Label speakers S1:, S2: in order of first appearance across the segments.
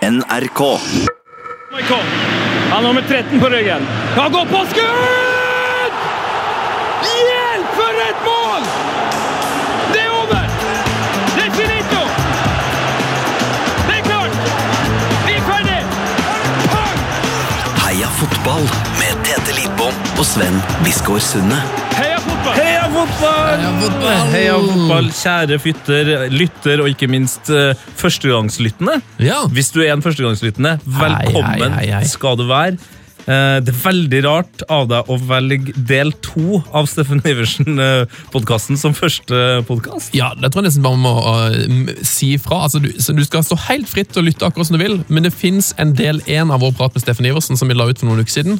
S1: NRK.
S2: Michael. Han har nummer 13 på ryggen. Han går på skudd! Hjelp for et mål! Det er over! Det er finito! Det er klart! Vi er ferdig! Pang!
S1: Heia fotball med Tete Lidbom og Sven Biskår Sunde.
S2: Heia fotball!
S3: Heia fotball! Heia fotball, kjære fytter, lytter og ikke minst eh, førstegangslyttende.
S4: Ja.
S3: Hvis du er en førstegangslyttende, velkommen
S4: hei, hei, hei.
S3: skal du være. Eh, Det er veldig rart av deg å velge del to av Steffen Iversen-podkasten som første podkast.
S4: Ja, det tror jeg nesten bare man må øh, m- si fra. Altså, du, så du skal stå helt fritt og lytte akkurat som du vil, men det fins en del én av vår prat med Steffen Iversen som vi la ut for noen uker siden.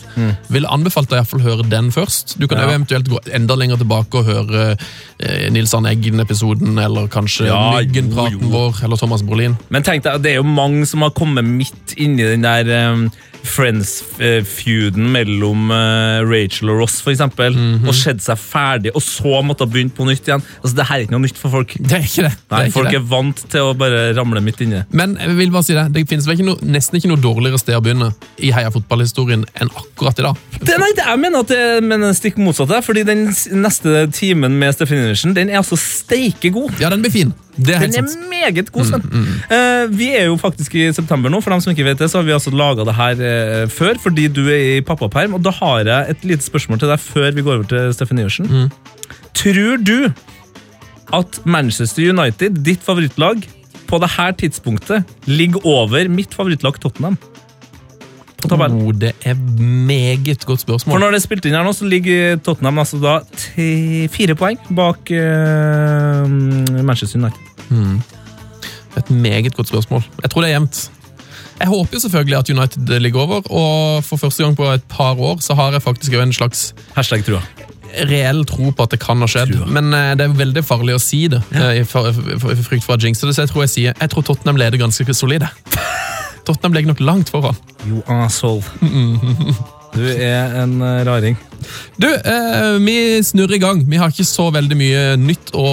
S4: Ville anbefalt deg i hvert fall å høre den først. Du
S3: Mm.
S4: kan
S3: Ja.
S4: jo eventuelt gå enda lenger tilbake og høre eh, Nils Arne Eggen-episoden, eller kanskje
S3: Ja, jo,
S4: Lyggen-praten
S3: jo.
S4: vår, eller Thomas Brolin.
S3: Men tenk deg, det er jo mange som har kommet midt inni den der eh, Friends-feuden mellom eh, Rachel og Ross, for eksempel,
S4: Mhm.
S3: og skjedd seg ferdig, og så måtte ha begynt på nytt igjen. Altså, Det her er ikke noe nytt for folk.
S4: Det er ikke det. det,
S3: Nei,
S4: er ikke
S3: folk
S4: det.
S3: er vant til å bare ramle midt inne.
S4: Men jeg vil bare si det, det finnes vel ikke noe, nesten ikke noe dårligere sted å begynne i heia fotballhistorien enn akkurat i dag.
S3: Det, nei, det, jeg mener at det men det stikk motsatte, fordi den s- neste timen med Steffen Iversen, den er altså steike god.
S4: Ja, den blir fin. Det er
S3: Den
S4: helt
S3: er
S4: sant.
S3: meget god, Sven. Eh, vi er jo faktisk i september nå, for dem som ikke vet det, så har vi altså laga det her eh, før, fordi du er i pappaperm, og da har jeg et lite spørsmål til deg før vi går over til Steffen Iversen. Tror du at Manchester United, ditt favorittlag, på det her tidspunktet ligger over mitt favorittlag Tottenham? På tabellen.
S4: Oh, det er meget godt spørsmål.
S3: For når det er spilt inn her nå, så ligger Tottenham altså da te- fire poeng bak eh, Manchester United.
S4: Et meget godt spørsmål. Jeg tror det er jevnt. Jeg håper jo selvfølgelig at United ligger over, og for første gang på et par år så har jeg faktisk jo en slags
S3: Hashtag trua.
S4: reell tro på at det kan ha skjedd.
S3: Trua.
S4: Men eh, det er jo veldig farlig å si det, eh, i for- for- i frykt for at jinxer det, så jeg tror jeg sier jeg tror Tottenham leder ganske solid. jeg. Tottenham ligger nok langt foran.
S3: You asshole. Du er en eh, raring.
S4: Du, eh, vi snurrer i gang. Vi har ikke så veldig mye nytt å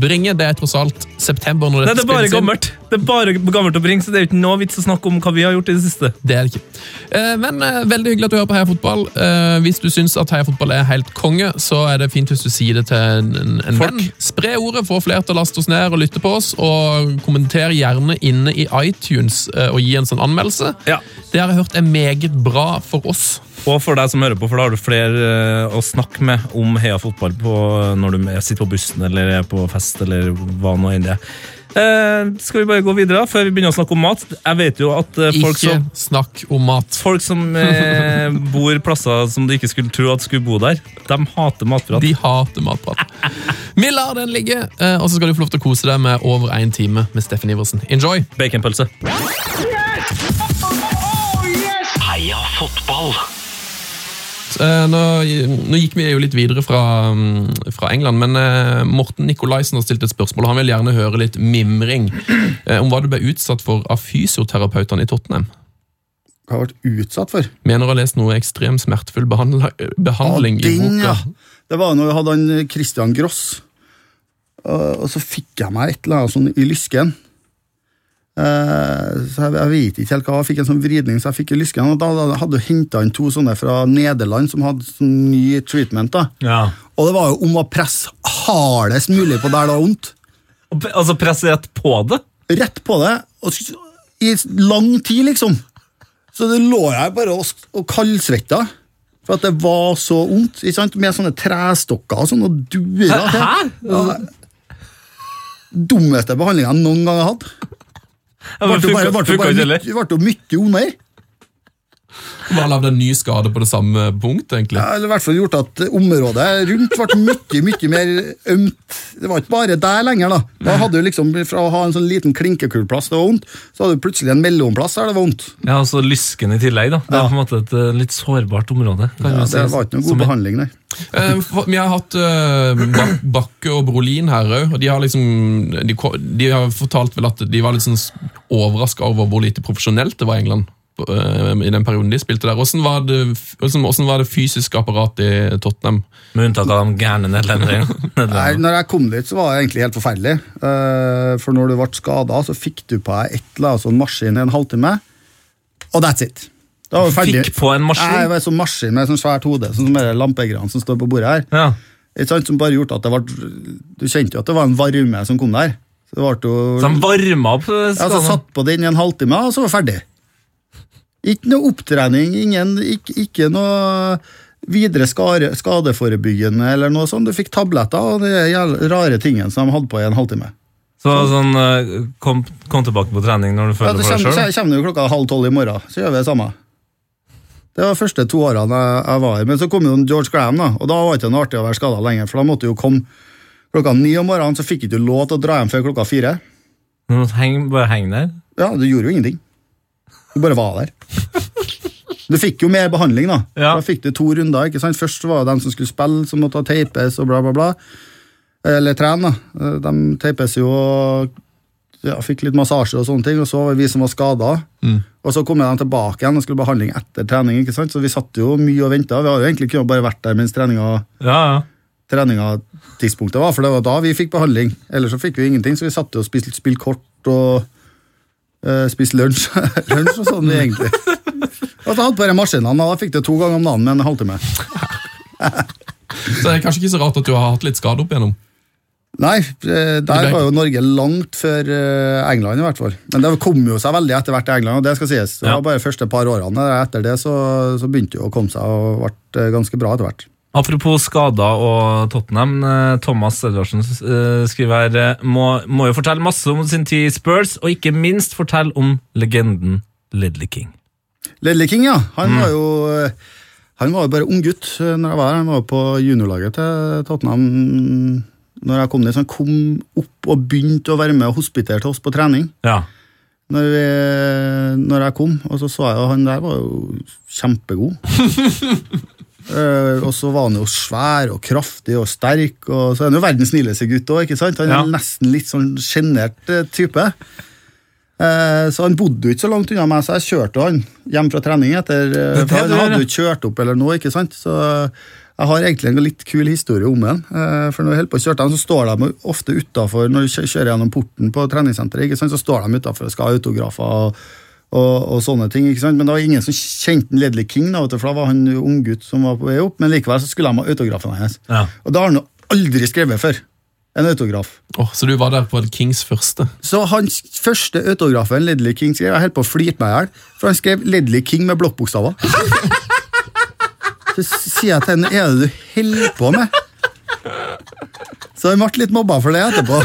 S4: bringe. Det er tross alt september når
S3: Nei,
S4: dette
S3: det er bare
S4: spilles inn.
S3: gammelt. Det er bare gammelt å bringe, så det er jo ikke noe vits å snakke om hva vi har gjort i det siste.
S4: Det er det ikke. Eh, Men eh, veldig hyggelig at du hører på Heia Fotball. Eh, Hvis du syns at Heia Fotball er helt konge, så er det fint hvis du sier det til en, en
S3: Folk.
S4: venn. Spre ordet, få flere til å laste oss ned og lytte på oss, og kommenter gjerne inne i iTunes eh, og gi en sånn anmeldelse.
S3: Ja.
S4: Det har jeg hørt er meget bra for oss.
S3: Og for deg som hører på, for da har du flere eh, å snakke med om Heia fotball på, når du er- sitter på bussen eller er på fest eller hva nå enn det er. Eh, skal vi bare gå videre da, før vi begynner å snakke om mat? Jeg vet jo at eh, folk
S4: Ikke
S3: som
S4: snakk om mat.
S3: Folk som eh, bor plasser som du ikke skulle tro at skulle bo der, de hater matprat.
S4: De hater matprat. Vi lar den ligge, eh, og så skal du få lov til å kose deg med over én time med Steffen Iversen. Enjoy!
S3: Baconpølse.
S4: Eh, Nå, nå gikk vi jo litt videre fra, mm, fra England, men eh, Morten Nikolaisen har stilt et spørsmål. og Han vil gjerne høre litt mimring eh, om hva du ble utsatt for av fysioterapeutene i Tottenham.
S5: har vært utsatt for.
S4: Mener å ha lest noe ekstremt smertefull behandla- behandling i
S5: den,
S4: boka.
S5: ja. Det var når jeg hadde han eh, Christian Gross, og, og så fikk jeg meg et eller annet sånn i lysken. Eh, så jeg, jeg vet ikke helt hva, jeg fikk en sånn vridning, så jeg fikk i lysken. Og da hadde- hadde jeg henta inn to sånne fra Nederland som hadde sånn ny treatment. da.
S3: Ja.
S5: Og det var jo om å presse hardest mulig på der det var vondt.
S3: Altså presse rett på det?
S5: rett på det og, s- i lang tid, liksom. Så det lå jeg bare og, s- og kaldsvetta. For at det var så vondt. ikke sant? Med sånne trestokker og sånn, og duer. til.
S3: Hæ?
S5: Ja, dummeste behandlinga jeg noen gang har hatt.
S3: Ja,
S5: Ble
S3: men
S5: jo
S3: Funka
S5: bare- ble jo
S3: funka
S5: bare
S3: ikke
S5: mye-
S3: heller?
S5: ble jo mye vondere.
S4: Bare lagd en ny skade på det samme punkt, egentlig.
S5: Eller i hvert fall gjort at området rundt ble mye, mye mer ømt. Det var ikke bare der lenger, da. Da hadde du liksom, Fra å ha en sånn liten klinkekuleplass det var vondt, så hadde du plutselig en mellomplass der det var vondt.
S3: Ja, og så lysken i tillegg, da. Det er
S5: Ja.
S3: på en måte et eh, litt sårbart område. kan
S5: Ja,
S3: man si.
S5: det var ikke noe
S3: Som
S5: god
S3: en-
S5: behandling, nei.
S4: Eh, for- Vi har hatt eh, Bak- Bakke og Brolin her òg, og de har liksom de, ko- de har fortalt vel at de var litt sånn overraska over hvor lite profesjonelt det var i England. på- eh, I den perioden de spilte der Hvordan var det, f- hvordan, hvordan var det fysiske apparatet i Tottenham?
S3: Med unntak av de gærne nederlenderne.
S5: Nei,
S3: Nederlenderne.
S5: når jeg kom dit, så var det egentlig helt forferdelig. Eh, For når du ble skada, så fikk du på deg et eller annet sånn altså maskin i en halvtime. Og that's it. Da var vi ferdig.
S3: Fikk på en maskin?
S5: Nei, det var en sånn maskin med sånn svært hode, sånn som denne lampegreiene som står på bordet her.
S3: Ja.
S5: Ikke sant, som bare gjorde at det ble, Du kjente jo at det var en varme som kom der. Så det ble jo...
S3: Så de varma opp eh,
S5: Ja, så
S3: skallene?
S5: satt på den i en halvtime, og så var jeg ferdig. Ikke noe opptrening, ingen, ikke, ikke noe videre skare, skadeforebyggende eller noe sånt. Du fikk tabletter og de jævla rare tingene som de hadde på i en halvtime.
S3: Så sånn, eh, kom, kom tilbake på trening når du
S5: Ja,
S3: føler
S5: det
S3: for deg
S5: kommer,
S3: sjøl?
S5: kje- kommer jo klokka halv tolv i morgen, så gjør vi det samme. Det var de første to årene jeg, jeg var her. Men så kom jo en George Graham, da, og da var det ikke noe artig å være skada lenger. For da måtte du jo komme klokka ni om morgenen, så fikk du ikke lov til å dra hjem før klokka fire.
S3: Bare heng der?
S5: Ja, du gjorde jo ingenting. Du bare var der. Du fikk jo mer behandling, da.
S3: Ja.
S5: Da fikk du to runder. ikke sant? Først var det dem som skulle spille, som måtte teipes og bla, bla, bla. Eller trene, da. De teipes jo og ja, fikk litt massasje og sånne ting. Og så var det vi som var skada. Og så kom de tilbake igjen og skulle behandling etter trening. ikke sant? Så vi satt jo mye og venta. Vi har jo egentlig kunnet bare vært der mens treninga
S3: Ja, ja.
S5: treninga tidspunktet var, for det var da vi fikk behandling. Ellers så fikk vi ingenting, så vi satt jo og spilte spilte kort og eh, spiste lunsj. lunsj og sånn, egentlig. Og så hadde bare maskinene, og da fikk det to ganger om dagen med en halvtime.
S4: Så det er kanskje ikke så rart at du har hatt litt skade opp igjennom.
S5: Nei, eh, der var jo Norge langt før eh, England, i hvert fall. Men det kom jo seg veldig etter hvert i England, og det skal sies. Det
S3: Ja.
S5: var bare de første par årene. Etter det så, så begynte det å komme seg og ble eh, ganske bra etter hvert.
S3: Apropos skader og Tottenham. eh, Thomas Edvardsen eh, skriver her eh, må, må jo fortelle masse om sin tid i Spurs, og ikke minst fortelle om legenden Ledley King.
S5: Ledley King, ja. Han var jo eh, han var jo bare ung gutt eh, når jeg var her. Han var jo på juniorlaget til Tottenham mm, når jeg kom dit. Så han kom opp og begynte å være med og hospitere til oss på trening
S3: Ja.
S5: når, vi, når jeg kom. Og så så jeg jo han der var jo kjempegod. Eh, og så var han jo svær og kraftig og sterk, og så er han jo verdens snilleste gutt òg. Han er
S3: Ja.
S5: nesten litt sånn sjenert eh, type. Eh, så han bodde jo ikke så langt unna meg, så jeg kjørte jo han hjem fra trening. etter eh,
S3: Det er det
S5: for Han
S3: du gjør,
S5: hadde jo
S3: ja.
S5: ikke kjørt opp eller noe, ikke sant? Så eh, jeg har egentlig en litt kul historie om han. eh, for når jeg holder på å kjøre han, så står de jo ofte utafor når du kjø- kjører gjennom porten på treningssenteret. ikke sant? Så står de utafor og skal ha autografer og, og, og sånne ting. ikke sant? Men det var ingen som kjente Ledley King, da, vet du, for da var han jo unggutt som var på vei opp. Men likevel så skulle de ha autografen hans.
S3: Ja.
S5: Og det har han jo aldri skrevet før. En autograf.
S4: Åh, så du var der på Kings første.
S5: Så hans første autografen Ledley King skrev, jeg holdt på å flirte meg i hjel, for han skrev Ledley King med blokkbokstaver. Så sier jeg til henne, er det du holder på med? Så han ble litt mobba for det etterpå.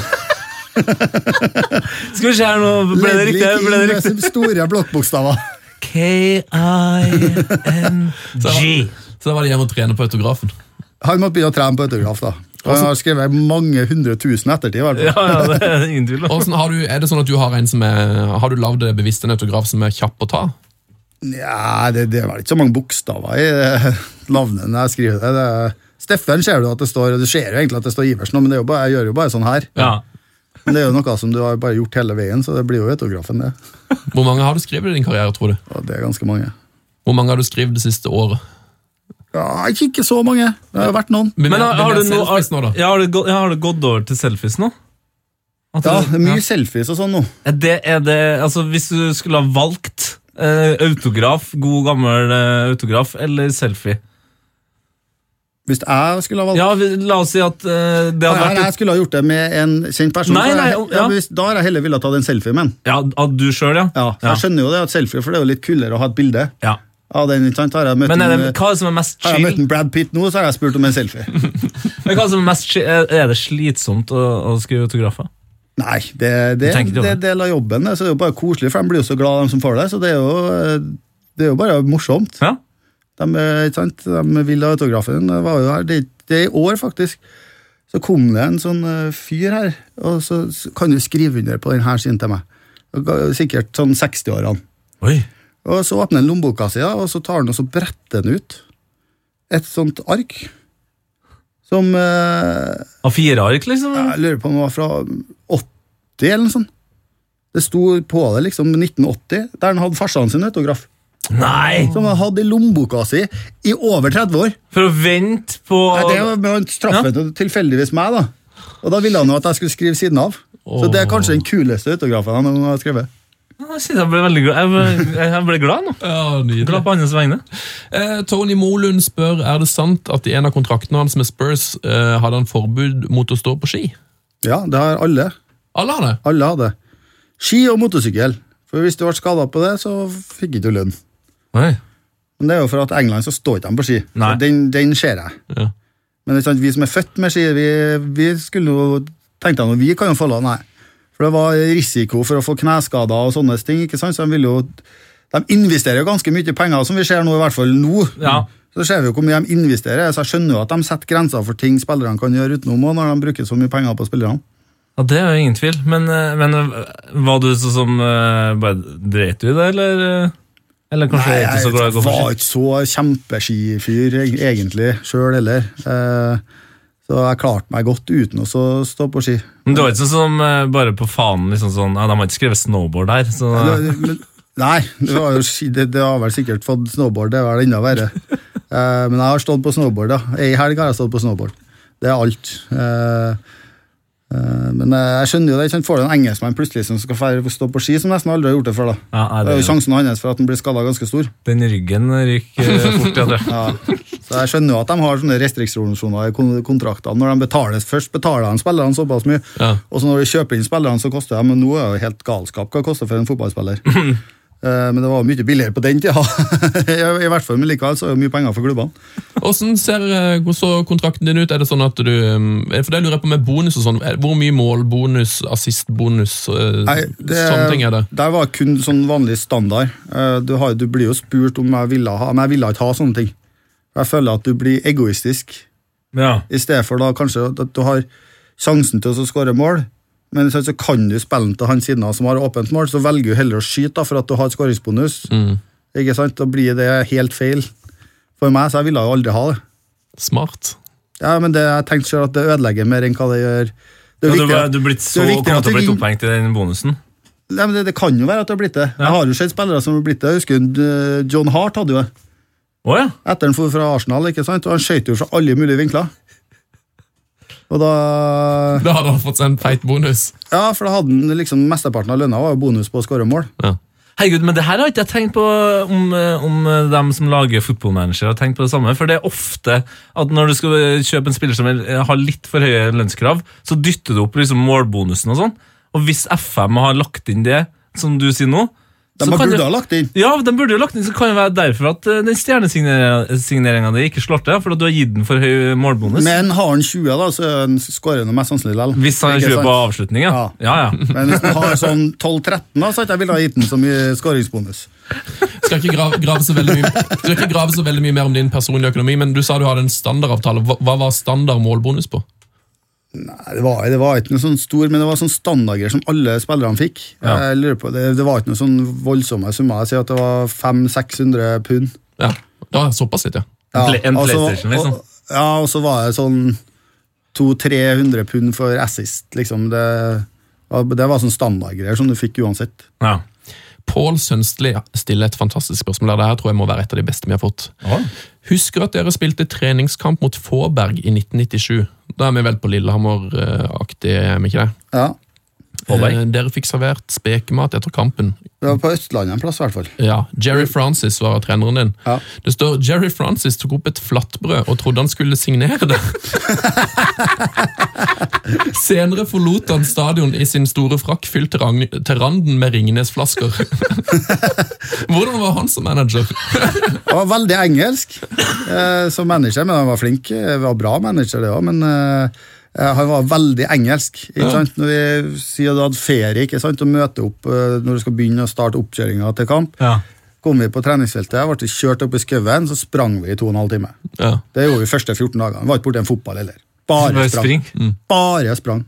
S3: Skal vi se her nå, ble det riktig? Ble det
S5: med
S3: riktig?
S5: sine store blokkbokstaver.
S3: K-I-N-G.
S4: Så da var det hjemme og trene på autografen.
S5: Han måtte begynne å trene på autograf, da. Og han har skrevet mange hundre tusen i ettertid. i hvert fall.
S3: Altså- Ja, ja, det er ingen tvil om.
S4: Og sånn, har du, er det sånn at du har en som er, har du lavd bevisst en autograf som er kjapp å ta?
S5: Nja, det, det er vel ikke så mange bokstaver i eh, navnet når jeg skriver det. det er- Steffen ser du at det står, og du ser jo egentlig at det står Iversen, nå, men det er jo bare, jeg gjør jo bare sånn her.
S3: Ja.
S5: Men det er jo noe som du har bare gjort hele veien, så det blir jo autografen, det.
S4: Hvor mange har du skrevet i din karriere, tror du?
S5: Og det er ganske mange.
S4: Hvor mange har du skrevet det siste året?
S5: Ja, ikke- ikke så mange. Det har vært noen.
S4: Men, eh,
S3: Men har, har, du
S4: no,
S3: nå, har,
S4: nå, da?
S3: ja, har, du, gå- ja, har du gått over til selfies nå? At
S5: Ja,
S3: du-
S5: det er Mye selfies og sånn nå.
S3: Er Det er det, altså Hvis du skulle ha valgt eh, autograf, god gammel eh, autograf, eller selfie
S5: Hvis jeg skulle ha valgt
S3: Ja, vi, La oss si at eh, det hadde
S5: Nei,
S3: vært
S5: jeg skulle ha gjort det med en kjent person.
S3: Nei,
S5: så jeg-
S3: nei, ja.
S5: ja. men hvis- Da har jeg heller villet ta en selfie med den.
S3: Ja, At du sjøl, ja?
S5: Ja, så
S3: ja.
S5: Jeg skjønner jo det, at selfie, for det er jo litt kulere å ha et bilde
S3: ja.
S5: av den. ikke sant? Har jeg møtt
S3: Men er det,
S5: en-
S3: hva er det som er mest
S5: har eh, jeg møtt
S3: chill?
S5: en Brad Pitt nå, så har jeg spurt om en selfie.
S3: Men hva er, det som er, mest chill? er er det slitsomt å, å skrive autografer?
S5: Nei, det, det,
S3: Du tenker ikke
S5: det
S3: over
S5: er en del av jobben. det, Så det er jo bare koselig, for de blir jo så glad de som får det. Så det er jo, eh, det er jo bare morsomt.
S3: Ja.
S5: De, eh, ikke sant? de ville ha autografen. Det var jo her. Det, det er i år, faktisk. Så kom det en sånn eh, fyr her, og så så kan du skrive under på den her, sier han til meg. Og ga- Sikkert sånn 60-årene.
S3: Oi.
S5: Og så åpner han lommeboka si, da, og så tar han og så bretter han ut et sånt ark. Som eh,
S3: Av fire ark, liksom?
S5: jeg lurer på om det var fra 80 eller noe sånt. Det sto på det liksom 1980, der han hadde farsan sin autograf.
S3: Nei!
S5: Som han hadde i lommeboka si i over 30 år.
S3: For å vente på
S5: Nei, det var men Han straffet jo tilfeldigvis meg, da. Og da ville han jo at jeg skulle skrive siden av. Så det er kanskje den kuleste autografen han noen gang har skrevet.
S3: Jeg synes jeg ble veldig glad. Jeg ble, jeg ble glad nå.
S4: Ja, nydelig.
S3: Glad på andres vegne.
S4: Eh, Tony Molund spør er det sant at i en av kontraktene hans med Spurs eh, hadde han forbud mot å stå på ski.
S5: Ja, det har alle.
S4: Alle har det.
S5: Alle hadde. Ski og motorsykkel. For hvis du ble skada på det, så fikk ikke du lønn.
S3: Oi.
S5: Men det er jo for at i England så står ikke de på ski.
S3: Nei.
S5: Så den, den ser jeg.
S4: Ja.
S5: Men det er sant, vi som er født med ski, vi, vi skulle jo tenkte jeg, nå, vi kan jo få lov, nei. For det var risiko for å få kneskader og sånne ting, ikke sant? Så de vil jo De investerer jo ganske mye penger, som vi ser nå, i hvert fall nå.
S3: Ja.
S5: Så ser vi jo hvor mye de investerer, så jeg skjønner jo at de setter grenser for ting spillerne kan gjøre utenom, og når de bruker så mye penger på spillerne.
S3: Ja, Det er jo ingen tvil. Men, eh, men eh, var du sånn som eh, bare dreit du i det, eller? eh, Eller kanskje
S5: Nei,
S3: er ikke så glad i å gå på
S5: var
S3: ski?
S5: ikke så kjempeskifyr eg- egentlig sjøl heller. Eh, Så jeg klarte meg godt uten å så stå på ski.
S3: Men det var ikke sånn som eh, bare på fanen liksom sånn, ja, De har ikke skrevet 'snowboard' her. Så,
S5: Det- men- Nei, det, var jo, ski- det, det har vel sikkert fått snowboard, det er vel enda verre. Eh, Men jeg har stått på snowboard, ja. Ei helg har jeg stått på snowboard. Det er alt. Eh, eh, Men eh, jeg skjønner jo det, ikke sant? får du en engelskmann plutselig som skal fære- stå på ski, som nesten aldri har gjort det før, da.
S3: ja, nei,
S5: Det er jo
S3: det,
S5: sjansen hans for at han blir skada ganske stor.
S3: den ryggen ryker eh, fort. Ja, det.
S5: Ja. Så jeg skjønner jo at de har sånne restriksjoner i kon- kontraktene. Når de betales, Først betaler de spillerne såpass mye,
S4: Ja.
S5: og så når de kjøper inn spillerne, så koster de Men nå er det jo helt galskap hva det koster for en fotballspiller. Eh, Men det var jo mye billigere på den tida. I hvert fall, men likevel så er det jo mye penger for klubbene.
S4: Hvordan ser eh, hvordan så kontrakten din ut? Er det sånn at du eh, For det lurer jeg på med bonus og sånn. Er- Hvor mye målbonus, assistbonus, eh,
S5: Nei, det,
S4: sånne ting er det?
S5: Der var kun sånn vanlig standard. Eh, Du, har, du blir jo spurt om jeg ville ha, men jeg ville ikke ha sånne ting. Jeg føler at du blir egoistisk.
S3: Ja.
S5: I stedet for da kanskje at du har sjansen til å skåre mål, men så, så kan du spille den til han siden av som har åpent mål, så velger du heller å skyte da, for at du har et skåringsbonus.
S3: Mm.
S5: Ikke sant? Da blir det helt feil for meg, så jeg ville jo aldri ha det.
S4: Smart.
S5: Ja, men det, Jeg tenkte selv at det ødelegger mer enn hva det gjør.
S3: Ja, du,
S5: Det, er viktig
S3: ble-
S5: at-
S3: du er blitt så,
S5: det er viktig
S3: kommer
S5: at
S3: til å
S5: du
S3: bli
S5: vin-
S3: opphengt i den bonusen.
S5: Nei, men det, det kan jo være at det har blitt det. Jeg har jo sett spillere som har blitt det. Jeg husker eh, John Hart hadde jo det.
S3: Å ja.
S5: Etter han for fra Arsenal, ikke sant? og han skjøt jo fra alle mulige vinkler. Og da
S4: Da hadde han fått seg en feit bonus.
S5: Ja, for da hadde han liksom mesteparten av lønna var jo bonus på å skåre mål.
S3: Herregud, men det her har ikke jeg tenkt på om, eh, om eh, dem som lager fotballmanager har tenkt på det samme, for det er ofte at når du skal eh, kjøpe en spiller som er- eh, har litt for høye lønnskrav, så dytter du opp liksom målbonusen og sånn, og hvis FM har lagt inn det, som du sier nå,
S5: De
S3: så
S5: har
S3: kan
S5: burde
S3: det-
S5: ha lagt inn.
S3: Ja, den burde jo lagt inn, så kan det være derfor at eh, den stjernesigneringa di ikke slår til, for at du har gitt den for høy målbonus.
S5: Men har han 20, da, så er han skårer han mest sannsynlig likevel.
S3: hvis han
S5: Ikke
S3: kjører
S5: sant?
S3: på avslutning, ja. ja, ja.
S5: Men hvis han har sånn 12-13, da, så hadde jeg ville ha gitt han så mye skåringsbonus.
S4: Skal ikke grave, grave, så veldig mye, skal ikke grave så veldig mye mer om din personlige økonomi, men du sa du hadde en standardavtale. Hva, hva var standard målbonus på?
S5: Nei, det var, det var ikke noe sånn stor, men det var sånn standardgreier som alle spillerne fikk.
S3: Ja.
S5: Jeg lurer på, det, det var ikke noe sånn voldsomme summer. Jeg sier at det var 500-600 pund.
S4: Ja, da er det Såpass litt, ja.
S5: Ja,
S3: Play- en
S5: og så-
S3: PlayStation, liksom.
S5: Og, ja, og så var det sånn 200-300 pund for assist, liksom. Det, det var sånn standardgreier som du fikk uansett.
S3: ja.
S4: Pål Sønstli stiller et fantastisk spørsmål. der. Det her tror jeg må være et av de beste vi har fått. Husker at dere spilte treningskamp mot Fåberg i 1997. Da er vi vel på Lillehammer-aktig, er vi ikke det?
S5: Ja,
S4: Eh, Dere fikk servert spekemat etter kampen.
S5: Det var på Østlandet en plass, i hvert fall.
S4: Ja, Jerry Francis var treneren din.
S5: Mm. Ja.
S4: Det står Jerry Francis tok opp et flatbrød og trodde han skulle signere det. Senere forlot han stadion i sin store frakk fylt til rang- til randen med Ringnes-flasker. Hvordan var han som manager?
S5: Det var veldig engelsk eh, som manager, men han var flink. eh, var bra manager, det òg, men eh, eh, han var veldig engelsk. Ikke
S4: Ja.
S5: sant? Når vi sier du hadde ferie ikke sant? og møter opp eh, når du skal begynne å starte oppkjøringa til kamp,
S3: Ja.
S5: kom vi på treningsfeltet, ble kjørt opp i skauen, så sprang vi i to og en halv time.
S4: Ja.
S5: Det gjorde vi første 14 dagene. Vi Var ikke borti en fotball heller. Bare
S3: Bare
S5: sprang.
S3: spring,
S6: Mm.
S5: Bare sprang.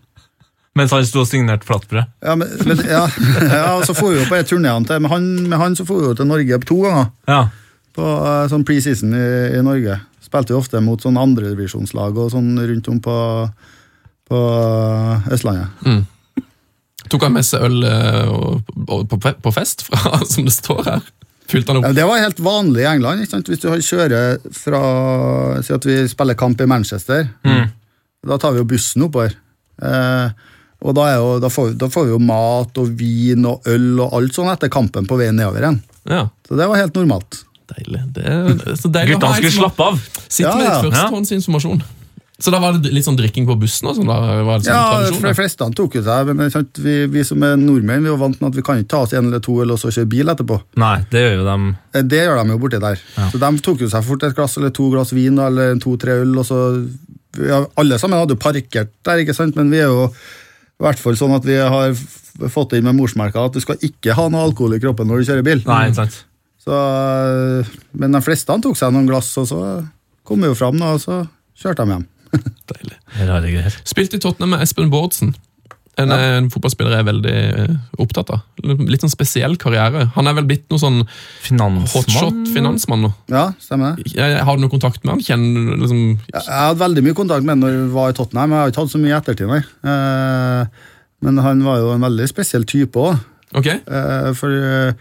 S3: mens han sto og signerte flatbrød.
S5: Ja, men, men, ja, ja, og så for vi jo på en turné til, med han, med han så for vi jo til Norge to ganger.
S3: Ja.
S5: på eh, sånn preseason i, i Norge. Spilte jo ofte mot sånn andredivisjonslag og sånn rundt om på, på eh, Østlandet.
S4: Tok han med seg øl eh, og- og- på, fe- på fest, fra, som det står her? Fylte han
S5: Ja,
S4: opp?
S5: det var helt vanlig i England. ikke sant? Hvis du har- kjører fra Si at vi spiller kamp i Manchester. Da tar vi jo bussen oppover. Eh, Og da, er jo, da, får, da får vi jo mat og vin og øl og alt sånn etter kampen på veien nedover igjen.
S4: Ja,
S5: Så det var helt normalt.
S4: Deilig. Det er, det er så deilig å
S6: Guttene
S4: ha en
S6: skulle
S4: som har-
S6: slappe av.
S4: Sitte med
S5: Ja, ja.
S4: litt førstehåndsinformasjon. Så da var det litt sånn drikking på bussen og sånn? da var det sånn
S5: Ja,
S4: tradisjon,
S5: for de
S4: da.
S5: fleste han tok jo seg, men det er sant, vi, vi som er nordmenn, vi er jo vant med at vi kan ikke ta oss en eller to øl og så kjøre bil etterpå.
S6: Nei, det gjør jo dem.
S5: Eh, Det gjør de jo borti der. Så de tok jo seg fort et glass eller to glass vin eller en to-tre øl, og så ja, Alle sammen hadde jo parkert der, ikke sant, men vi er jo i hvert fall sånn at vi har f- fått inn med morsmelka at du skal ikke ha noe alkohol i kroppen når du kjører bil.
S6: Nei, ikke sant.
S5: Så, øh, men de fleste han tok seg noen glass, og så kom vi jo fram, da, og så kjørte de hjem.
S4: Deilig.
S6: Rare greier.
S4: Spilte i Tottenham med Espen Bårdsen. En, eh, en fotballspiller jeg er veldig eh, opptatt av. Litt sånn spesiell karriere. Han er vel blitt noe sånn
S6: Finansmann.
S4: hotshot-finansmann nå.
S5: Ja, stemmer det.
S4: Jeg- jeg- Har du noe kontakt med han? Kjenner du liksom
S5: Jeg jeg hadde veldig mye kontakt med ham når jeg var i Tottenham. Jeg har ikke hatt så mye i ettertid, nei. Eh, Men han var jo en veldig spesiell type òg.
S4: Ok?
S5: For eh,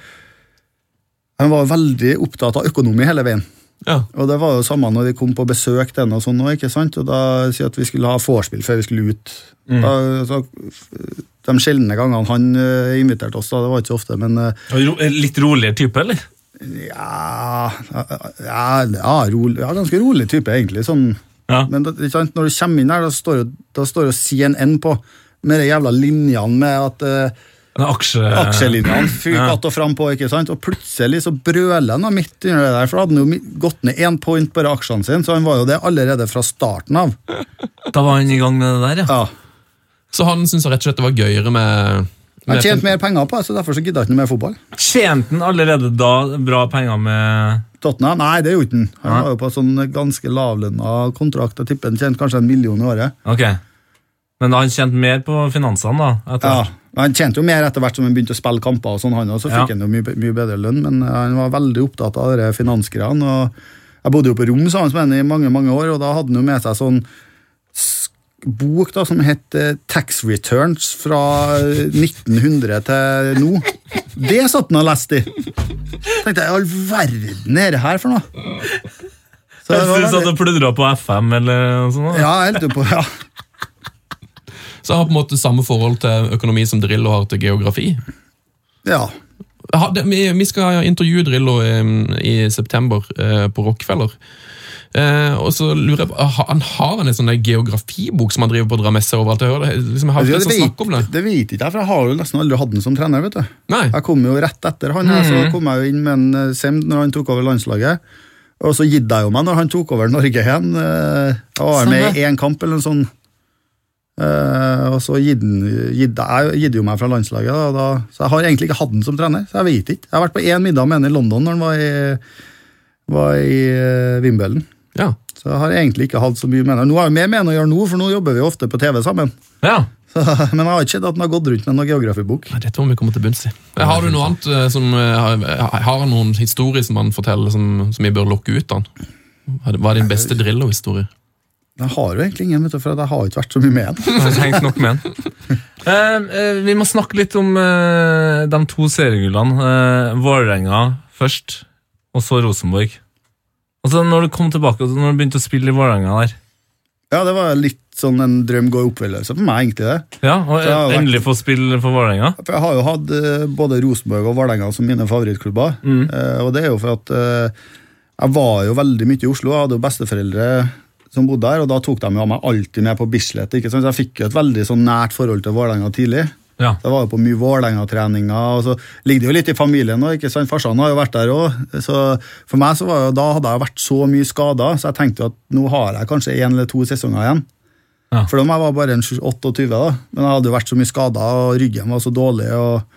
S5: han var veldig opptatt av økonomi hele veien.
S4: Ja.
S5: Og det var jo samme når de kom på besøk til henne og sånn nå, ikke sant? Og da sier at vi skulle ha vorspiel før vi skulle ut. Da, så, de sjeldne gangene han eh, inviterte oss, da, det var ikke så ofte, men eh,
S6: Ro- Litt roligere type, eller?
S5: Ja, eh, ja, ja, rolig, ja ganske rolig type, egentlig. Sånn.
S6: Ja.
S5: Men det, ikke sant? når du kommer inn her, da står jo- da står jo CNN på med de jævla linjene med at eh,
S6: En aksje...
S3: Eh,
S5: aksjelinjene fyker att og fram på, ikke sant? og plutselig så brøler han da midt under det der, for da hadde han jo mi- gått ned én point på aksjene sine, så han var jo det allerede fra starten av.
S6: Da var han i gang med det der, ja.
S5: Ja.
S4: Så han syns rett og slett det var gøyere med,
S5: Han
S4: med
S5: tjente mer penger på det, så derfor så gidda han ikke noe mer fotball.
S6: Tjente han allerede da bra penger med
S5: Tottenham? Nei, det gjorde han ikke. Han var jo på sånn ganske lavlønna kontrakt, jeg tipper han tjente kanskje en million i året.
S6: Ok. Men han tjente mer på finansene, da? Etter.
S5: Ja, men Han tjente jo mer etter hvert som han begynte å spille kamper, og sånn han også, så
S6: Ja.
S5: fikk han jo mye, mye bedre lønn, men eh, han var veldig opptatt av de finansgreiene. og Jeg bodde jo på rom sammen med han i mange mange år, og da hadde han jo med seg sånn sk- bok da, som het eh, Tax Returns fra 1900 til nå. Det satt han og leste i! tenkte jeg, i all verden er det her for noe? Så det
S6: Jeg
S5: var
S6: synes at
S5: veldig,
S6: det pludra på FM eller noe sånt. da.
S5: ja, jeg holdt jo på, ja.
S4: Så jeg har på en måte samme forhold til økonomi som Drillo har til geografi.
S5: ja.
S4: Ha, det, vi, vi skal intervjue Drillo em, i september eh, på Rockefeller. Eh, og så lurer jeg på, ha- Han har en sånn der geografibok som han driver på å dra med seg overalt. Jeg hører det, liksom, jeg har
S5: Det,
S4: ikke lyst
S5: vet,
S4: til å snakke om det.
S5: det vet ikke jeg, for jeg har jo nesten aldri hatt den som trener. vet du.
S4: Nei,
S5: Jeg kom jo rett etter han, her, så kom jeg jo inn med en eh, Semd når han tok over landslaget. Og så gitt jeg jo meg når han tok over Norge igjen. eh, Jeg var med i én kamp eller en sånn. Eh, og så gitt den- gitt jeg gitt jo meg fra landslaget, da, og da, så jeg har egentlig ikke hatt den som trener. så Jeg vet ikke. Jeg har vært på én middag med han i London når han var i, var i eh, Wimbledon.
S4: ja.
S5: Så jeg har egentlig ikke hatt så mye med han. Nå har jeg mer med han å gjøre nå, for nå jobber vi ofte på TV sammen.
S6: Ja.
S5: Så, men jeg har ikke sett at han har gått rundt med noen geografibok.
S4: Nei, Dette må vi komme til bunns i. Eh, Har du noe annet eh, som, eh, har- har han noen historier som han forteller som, som vi bør lukke ut? han? Har det- Hva er din beste Drillo-historie?
S5: Jeg har jo egentlig ingen, vet du, for jeg har ikke vært så mye med han.
S6: Jeg har hengt nok med den. Eh, eh, vi må snakke litt om eh, de to seriegullene. Eh, Vålerenga først, og så Rosenborg. Altså, når du kom tilbake, altså, når du begynte å spille i Vålerenga der
S5: Ja, det var litt sånn en drøm går i oppfyllelse for meg, egentlig det.
S6: Ja, og
S5: Det har vært-
S6: Endelig få spille for Vålerenga.
S5: For jeg har jo hatt eh, både Rosenborg og Vålerenga som mine favorittklubber. Eh, og det er jo for at eh, jeg var jo veldig mye i Oslo. Jeg hadde jo besteforeldre som bodde der, og da tok de jo meg alltid med på Bislett. ikke sant? Så jeg fikk jo et veldig sånn nært forhold til Vålerenga tidlig.
S6: Ja.
S5: Så jeg var jo på mye Vålerenga-treninger, og så ligger det jo litt i familien nå, ikke sant? Farsan har jo vært der òg. Så for meg så var jo, da hadde jeg vært så mye skada, så jeg tenkte jo at nå har jeg kanskje én eller to sesonger igjen.
S6: Ja.
S5: For da var jeg var bare en 28, da. men jeg hadde jo vært så mye skada, og ryggen var så dårlig. og,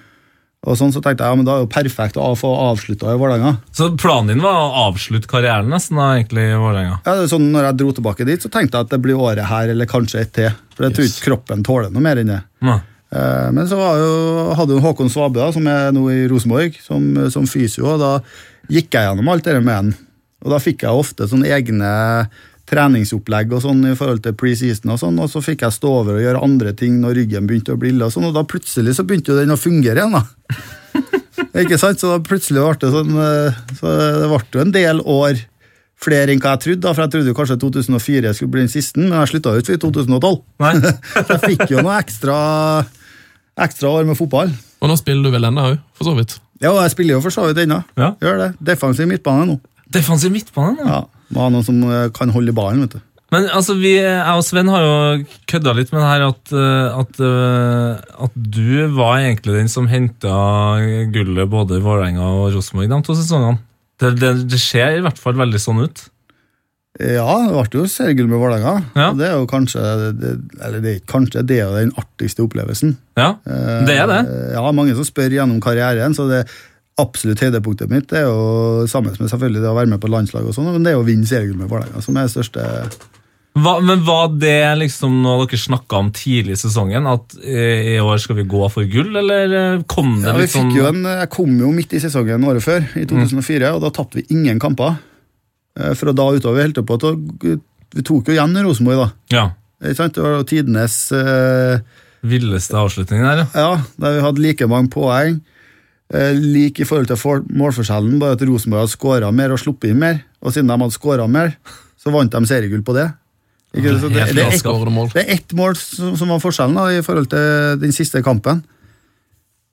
S5: og sånn, Så tenkte jeg ja, men da er det jo perfekt å få avslutta i Vålerenga.
S6: Så planen din var å avslutte karrieren nesten da, egentlig i Vålerenga?
S5: Ja, det er sånn, når jeg dro tilbake dit, så tenkte jeg at det blir året her, eller kanskje et til. For jeg tror ikke kroppen tåler noe mer enn det.
S6: Ja.
S5: Eh, Men så var jo, hadde jo Håkon Svabe, da, som er nå i Rosenborg, som, som fysio, og da gikk jeg gjennom alt det der med han. Og da fikk jeg ofte sånne egne treningsopplegg og sånn i forhold til preseason og sånn, og så fikk jeg stå over og gjøre andre ting når ryggen begynte å bli ille og sånn, og da plutselig så begynte jo den å fungere igjen, da. Ikke sant? Så da plutselig ble det sånn eh, Så det ble jo en del år flere enn hva jeg trodde, da, for jeg trodde jo kanskje 2004 skulle bli den siste, men jeg slutta jo ikke i 2012.
S3: Nei.
S5: Så jeg fikk jo noe ekstra, ekstra år med fotball.
S4: Og nå spiller du vel denne òg, for så vidt.
S5: Ja, og jeg spiller jo for så vidt ennå.
S3: Ja.
S5: Gjør det. Defensiv midtbane nå.
S3: Defensiv midtbane, da.
S5: Ja. Må ha noen som eh, kan holde i ballen, vet du.
S3: Men altså, vi, jeg og Sven har jo kødda litt med det her at, eh, at, eh, at du var egentlig den som henta gullet både i Vålerenga og Rosenborg de to sesongene. Det, det, det ser i hvert fall veldig sånn ut.
S5: Ja, det ble jo seriegull med Vålerenga.
S3: Ja.
S5: Og Det er jo kanskje det, Eller det er ikke kanskje, det er jo den artigste opplevelsen.
S3: Ja,
S5: Eh,
S3: det er det.
S5: Ja, mange som spør gjennom karrieren, så det absolutt høydepunktet mitt det er jo sammen med selvfølgelig det å være med på landslag og sånn, men det er jo å vinne seriegull med Vålerenga som er det største
S3: Hva, men var det liksom noe dere snakka om tidlig i sesongen? At eh, i år skal vi gå for gull, eller eh, kom det
S5: ja, vi
S3: litt sånn
S5: fikk jo Mm. en, Jeg kom jo midt i sesongen året før, i 2004, og da tapte vi ingen kamper. Eh, Fra da utover helt opp til Vi tok jo igjen Rosenborg, da.
S3: Ja.
S5: Ikke sant? Det var jo tidenes eh,
S3: Villeste avslutningen der, ja.
S5: Ja, der vi hadde like mange poeng. eh, Lik i forhold til for- målforskjellen, bare at Rosenborg hadde skåra mer og sluppet inn mer. Og siden de hadde skåra mer, så vant de seriegull på det. Ikke, så det, det, er ett,
S4: Skårede mål.
S5: det er ett mål som, som var forskjellen da, i forhold til den siste kampen.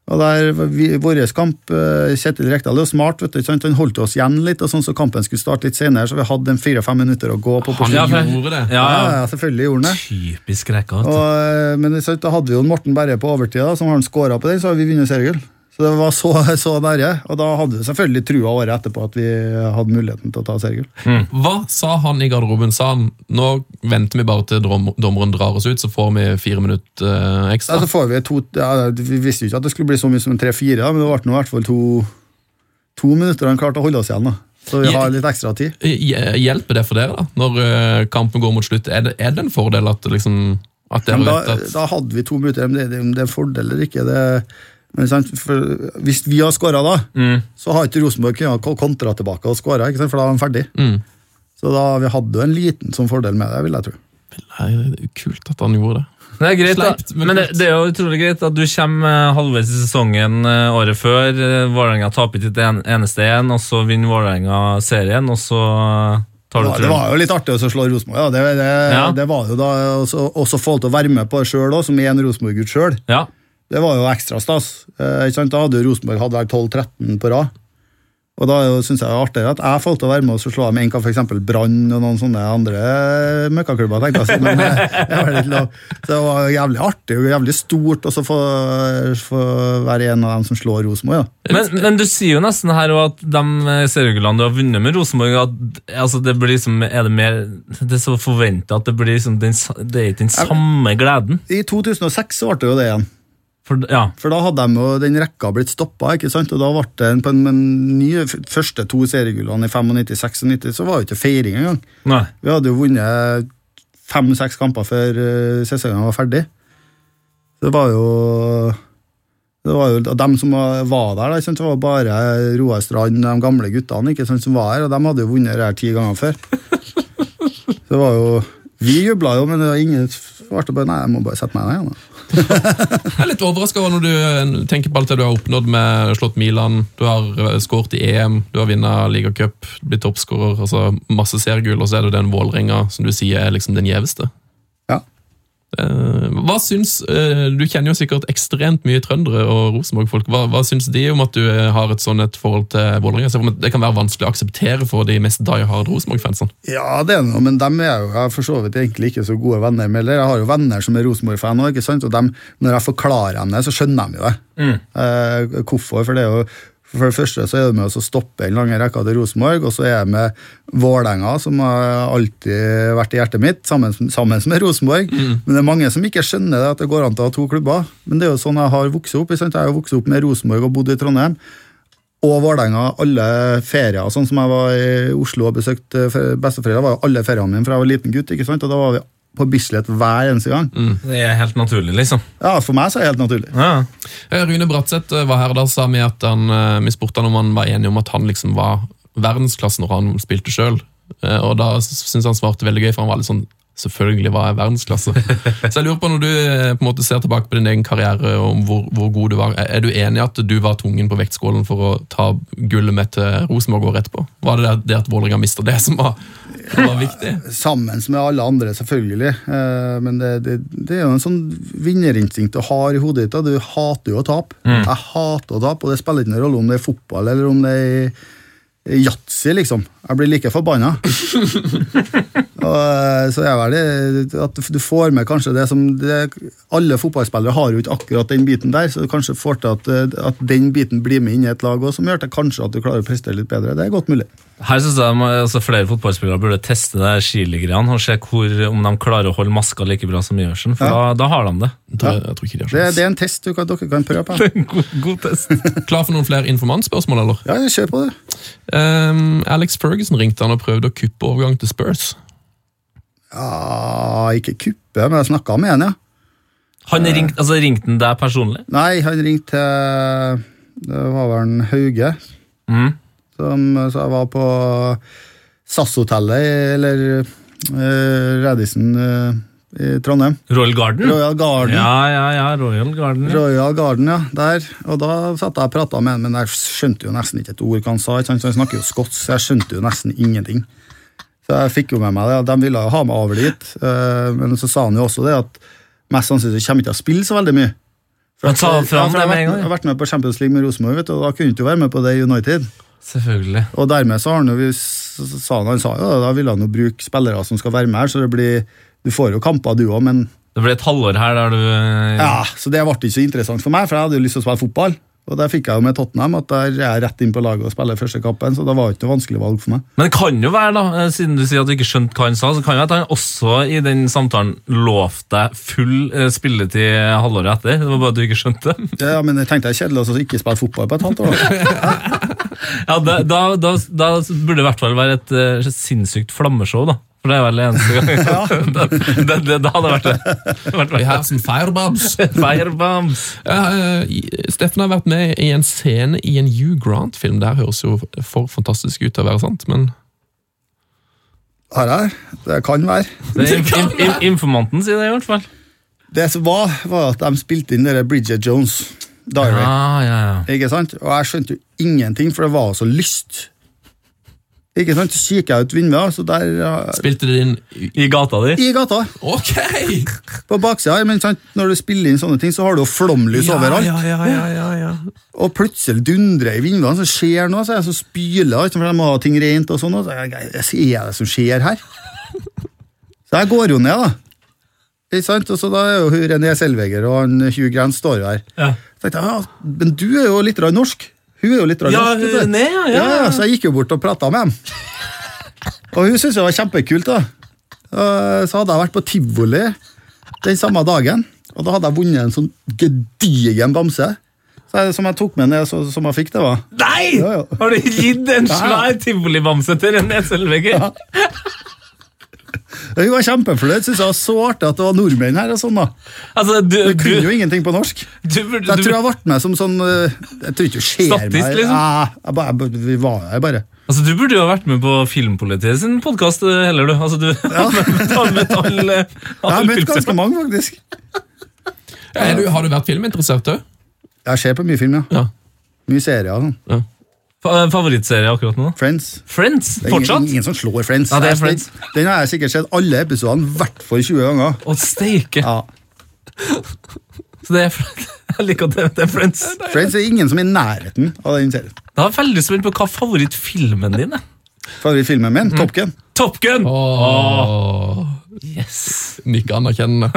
S5: Og der, var vi, Vår kamp, eh, Kjetil Rekdal er jo smart, vet du, ikke sant? han holdt oss igjen litt, og sånn så kampen skulle starte litt senere, så vi hadde en fire-fem minutter å gå på. på
S4: Han
S3: Ja, for-
S4: gjorde det.
S3: Ja,
S5: ja,
S3: ja.
S5: ja, selvfølgelig gjorde han det.
S3: Typisk rekka.
S5: Og,
S3: vet du.
S5: eh, men det er sant, da hadde vi jo en Morten Berre på overtid, da, som har han skåra på den, så har vi vunnet seriegull. Så det var så, så nære. Og da hadde vi selvfølgelig trua året etterpå at vi hadde muligheten til å ta seriegull.
S4: Hva sa han i garderoben? Sa han nå venter vi bare til drom- dommeren drar oss ut, så får vi fire minutter eh,
S5: Ja,
S4: ekstra?
S5: så får vi to ja, Vi visste jo ikke at det skulle bli så mye som en tre-fire, da, men det ble nå i hvert fall to, to minutter han klarte å holde oss igjen, da. Så vi har litt ekstra tid.
S4: Hj- Hjelper det for dere, da? Når eh, kampen går mot slutt, er det, er det en fordel at, liksom, at dere
S5: Men da,
S4: vet at
S5: da hadde vi to minutter, men det, det, om det er en fordel eller ikke det, men sant, for Hvis vi har skåra da, så har ikke Rosenborg kunnet ko- kontra tilbake og skåra, for da er de ferdig. Så da, vi hadde jo en liten sånn fordel med det, vil jeg tro.
S4: Nei, det er jo kult at han gjorde det.
S3: Det er greit,
S4: Sleipt,
S3: da.
S4: men
S3: Men det,
S4: kult.
S3: det er jo utrolig greit at du kommer eh, halvveis i sesongen eh, året før. eh, Vålerenga taper ikke et en, eneste igjen, og så vinner Vålerenga serien, og så eh, tar du
S5: Ja, det
S3: trøbbel.
S5: var jo litt artig å slå Rosenborg, ja. Det, det,
S3: Ja.
S5: det var jo da og så- og så få lov til å være med på det sjøl òg, som er en Rosenborg-gutt sjøl.
S3: Ja.
S5: Det var jo ekstra stas. Eh, ikke sant? Da hadde jo Rosenborg hatt vel 12-13 på rad. Og da er jo- synes jeg det er artigere at jeg får lov til å være med og så slå dem en kamp, f.eks. Brann og noen sånne andre møkkaklubber, tenkte jeg. så, Men eh, det var litt lov. Så det var jævlig artig og jævlig stort å så få, få være en av dem som slår Rosenborg. Ja.
S3: Men, men du sier jo nesten her også at de eh, seriegullene du har vunnet med Rosenborg at, altså det blir liksom, Er det mer Det er så forventa at det blir liksom den, sa- Det er ikke den samme gleden?
S5: I 2006 så ble det jo det igjen.
S3: For, ja.
S5: For da hadde de jo den rekka blitt stoppa, ikke sant? og da ble det en, på en, en ny, f- første to seriegullene i 95-96, så var det jo ikke feiring engang.
S3: Nei.
S5: Vi hadde jo vunnet fem-seks kamper før eh, sesongen var ferdig. Det var jo det var jo De som var var der, da, ikke sant? det var bare Roar Strand, de gamle guttene ikke sant, som var her, og de hadde jo vunnet det her ti ganger før. Så det var jo Vi jubla jo, men det var ingen som ble bare Nei, jeg må bare sette meg ned igjen. da.
S4: Jeg er litt overraska når du eh, tenker på alt det du har oppnådd med slått Milan. Du har eh, skåret i EM, du har vunnet ligacup, blitt toppskårer. Altså masse seriegull, og så er det den Vålerenga som du sier er liksom den gjeveste.
S5: Ja.
S4: Eh, Hva syns, eh, Du kjenner jo sikkert ekstremt mye trøndere og Rosenborg-folk. Hva, hva syns de om at du eh, har et sånn et forhold til Vålerenga? Jeg ser for meg at Det kan være vanskelig å akseptere for de mest die hard Rosenborg-fansene.
S5: Ja, det er noe, men dem er jo jeg er for så vidt egentlig ikke så gode venner med heller. Jeg har jo venner som er Rosenborg-fan òg, ikke sant. Og dem, når jeg forklarer dem det, så skjønner de jo det. Eh, hvorfor? For det er jo for det første så er det med oss å stoppe den lange rekka til Rosenborg, og så er jeg med Vålerenga, som har alltid vært i hjertet mitt, sammen, sammen med Rosenborg. Men det er mange som ikke skjønner det, at det går an til å ha to klubber. Men det er jo sånn jeg har vokst opp. ikke sant? Jeg har jo vokst opp med Rosenborg og bodd i Trondheim og Vålerenga alle ferier. Sånn som jeg var i Oslo og besøkte eh, besteforeldre, var jo alle feriene mine fra jeg var liten gutt. ikke sant? Og da var vi på Bislett hver eneste gang.
S3: Det er helt naturlig, liksom.
S5: Ja, For meg så er det helt naturlig.
S3: Ja.
S4: Eh, Rune Bratseth eh, var her da sa vi at han, eh, vi spurte han om han var enig om at han liksom Eh, var verdensklasse når han spilte sjøl. Og da s- syntes han svarte veldig gøy, for han var litt sånn Selvfølgelig var jeg verdensklasse. Så jeg lurer på Når du eh, på en måte ser tilbake på din egen karriere, om hvor, hvor god du var, er er du enig i at du var tungen på vektskålen for å ta gullet med til Rosenborg året etterpå? Var det det, det at Vålerenga mista det, som var, var viktig?
S5: Sammen med alle andre, selvfølgelig. Eh, Men det, det, det er jo en sånn vinnerinstinkt du har i hodet ditt. da. Du hater jo å tape. Jeg hater å tape, og det spiller ikke noen rolle om det er fotball eller om det er i yatzy, liksom. Jeg blir like forbanna. Og, eh, så jeg er vel det at du får med kanskje det som det, Alle fotballspillere har jo ikke akkurat den biten der, så du kanskje får til at, eh, at den biten blir med inn i et lag òg, som gjør til kanskje at du klarer å prestere litt bedre. Det er godt mulig.
S3: Her synes jeg man- altså, Flere fotballspillere burde teste det her skiligreiene og se hvor, om de klarer å holde maska like bra som Gjørsen, for da,
S5: Ja.
S3: da har de det.
S4: Jeg tror, jeg tror ikke de har
S5: Det,
S4: sjans.
S5: det er en test du kan, dere kan prøve på.
S6: God, god test.
S4: Klar for noen flere informantspørsmål, eller?
S5: Ja, kjør på, du.
S4: Ehm, Alex Ferguson ringte han og prøvde å kuppe overgang til Spurs.
S5: Ja, Ah, ikke kuppe, men jeg snakka med han, ja.
S3: Han ringte, altså, ringte han deg personlig?
S5: Nei, han ringte til Det var vel en Hauge.
S3: Mhm.
S5: Som, så jeg var på SAS-hotellet, eller eh, Radisson eh, i Trondheim.
S3: Royal Garden?
S5: Royal Garden.
S3: Ja, ja, ja, Royal Garden. Ja.
S5: Royal Garden, ja, der. Og da satt jeg og prata med han, men jeg skjønte jo nesten ikke et ord hva han sa. Ikke sant? Så Han snakker jo skotsk, så jeg skjønte jo nesten ingenting. Så jeg fikk jo med meg det, og de ville jo ha meg over dit. eh, Men så sa han jo også det at mest sannsynlig kommer jeg ikke til å spille så veldig mye.
S3: Han sa
S5: Ja, for
S3: fra
S5: jeg,
S3: om det
S5: har
S3: med
S5: vært,
S3: en
S5: jeg
S3: gang?
S5: har vært med på Champions League med Rosenborg, vet du, og da kunne du ikke være med på det i United.
S3: Selvfølgelig.
S5: Og dermed så har han jo vi- s- sa han, han sa jo det, da ville han jo bruke spillere som skal være med her, så det blir Du får jo kamper, du òg, men
S3: Det ble et halvår her der du eh,
S5: ja, så det ble ikke så interessant for meg, for jeg hadde jo lyst til å spille fotball. Og der fikk jeg jo med Tottenham at der er jeg rett inn på laget og spiller første kampen, så det var jo ikke noe vanskelig valg for meg.
S3: Men det kan jo være, da, eh, siden du sier at du ikke skjønte hva han sa, så kan jo at han også i den samtalen lovte deg full eh, spilletid halvåret etter. Det var bare at du ikke skjønte det.
S5: Ja, men jeg tenkte det er kjedelig å ikke spille fotball på et halvt år. da.
S3: Ja, da, da, da, da burde det i hvert fall være et eh, sinnssykt flammeshow, da. For det er vel det eneste gang. det, det, det, det hadde vært det. det. hadde
S4: Vi
S3: vært
S4: har som firebabs.
S3: det. Firebams.
S4: Ja, eh, Steffen har vært med i en scene i en Hugh Grant-film. Det her høres jo for fantastisk ut til å være sant, men
S5: Har jeg? Det kan være.
S3: Det er inf- inf- inf- informanten sier det, i hvert fall.
S5: Det som var, var at de spilte inn dere Bridget Jones' Diary.
S3: Ah, ja, ja.
S5: Ikke sant? Og jeg skjønte jo ingenting, for det var så lyst. Ikke sant? Så kikker jeg ut vinduet, så der ja,
S4: spilte det inn
S3: I gata di.
S5: I gata,
S4: Ok!
S5: på baksida her, men sant? når du spiller inn sånne ting, så har du jo flomlys overalt.
S4: Ja, ja, ja, ja, ja.
S5: Og plutselig dundrer jeg i vinduene, så skjer noe, så jeg så spyler jeg, for jeg må ha ting rent og sånn. Og så er jeg, hva er det som skjer her? Så jeg går jo ned, da. Ikke sant? Og så da er jo hun René Selveger og han Hugh Grant står jo her.
S3: Ja.
S5: Så tenkte jeg, ja, men du er jo litt rann norsk. Hun er jo litt rann
S3: Ja,
S5: norsk. vet du.
S3: hun- nei, ja, ja.
S5: Så jeg gikk jo bort og prata med dem. Og hun syntes det var kjempekult, da. Eh, Så hadde jeg vært på tivoli den samme dagen, og da hadde jeg vunnet en sånn gedigen bamse. Så jeg, som jeg tok med ned, så, som jeg fikk det, var.
S3: Nei!
S5: Ja, ja.
S3: Har du gitt en svær tivolibamse til René Sølvegger?
S5: Hun var kjempefornøyd, syntes det var så artig at det var nordmenn her. og sånn da.
S3: Altså, du,
S5: Jeg kunne
S3: du,
S5: jo ingenting på norsk.
S3: du, burde-
S5: Så jeg
S3: du-
S5: tror jeg ble med som sånn eh, Jeg tror ikke det skjer
S3: Statist,
S5: meg.
S3: liksom?
S5: Ja, jeg bare, jeg, bare- vi var her bare.
S3: altså, du burde jo ha vært med på Filmpolitiet sin podkast heller, du. Altså, du har møtt alle
S5: Jeg har
S3: alle
S5: møtt
S3: filmsøkere.
S5: ganske mange, faktisk.
S4: Er du, har du vært filminteressert òg?
S5: Jeg ser på mye film, ja.
S4: Ja.
S5: Mye serier. og Sånn.
S3: Fa- Favorittserie akkurat nå?
S5: Friends.
S3: Friends?
S5: Det er
S3: Fortsatt?
S5: Ingen, ingen som slår Friends.
S3: Ja, det er
S5: Jeg-
S3: Friends.
S5: Den, den har jeg sikkert sett alle episodene, i hvert fall 20 ganger.
S3: Å, steike!
S5: Ja.
S3: Så det er Friends. Jeg liker at det, det er Friends.
S5: Friends er ingen som er i nærheten av den serien.
S3: Da er jeg veldig spent på hva favorittfilmen din er.
S5: Favorittfilmen min, Top Gun.
S3: Top Gun!
S4: Åh.
S3: Yes.
S4: Nikke anerkjennende.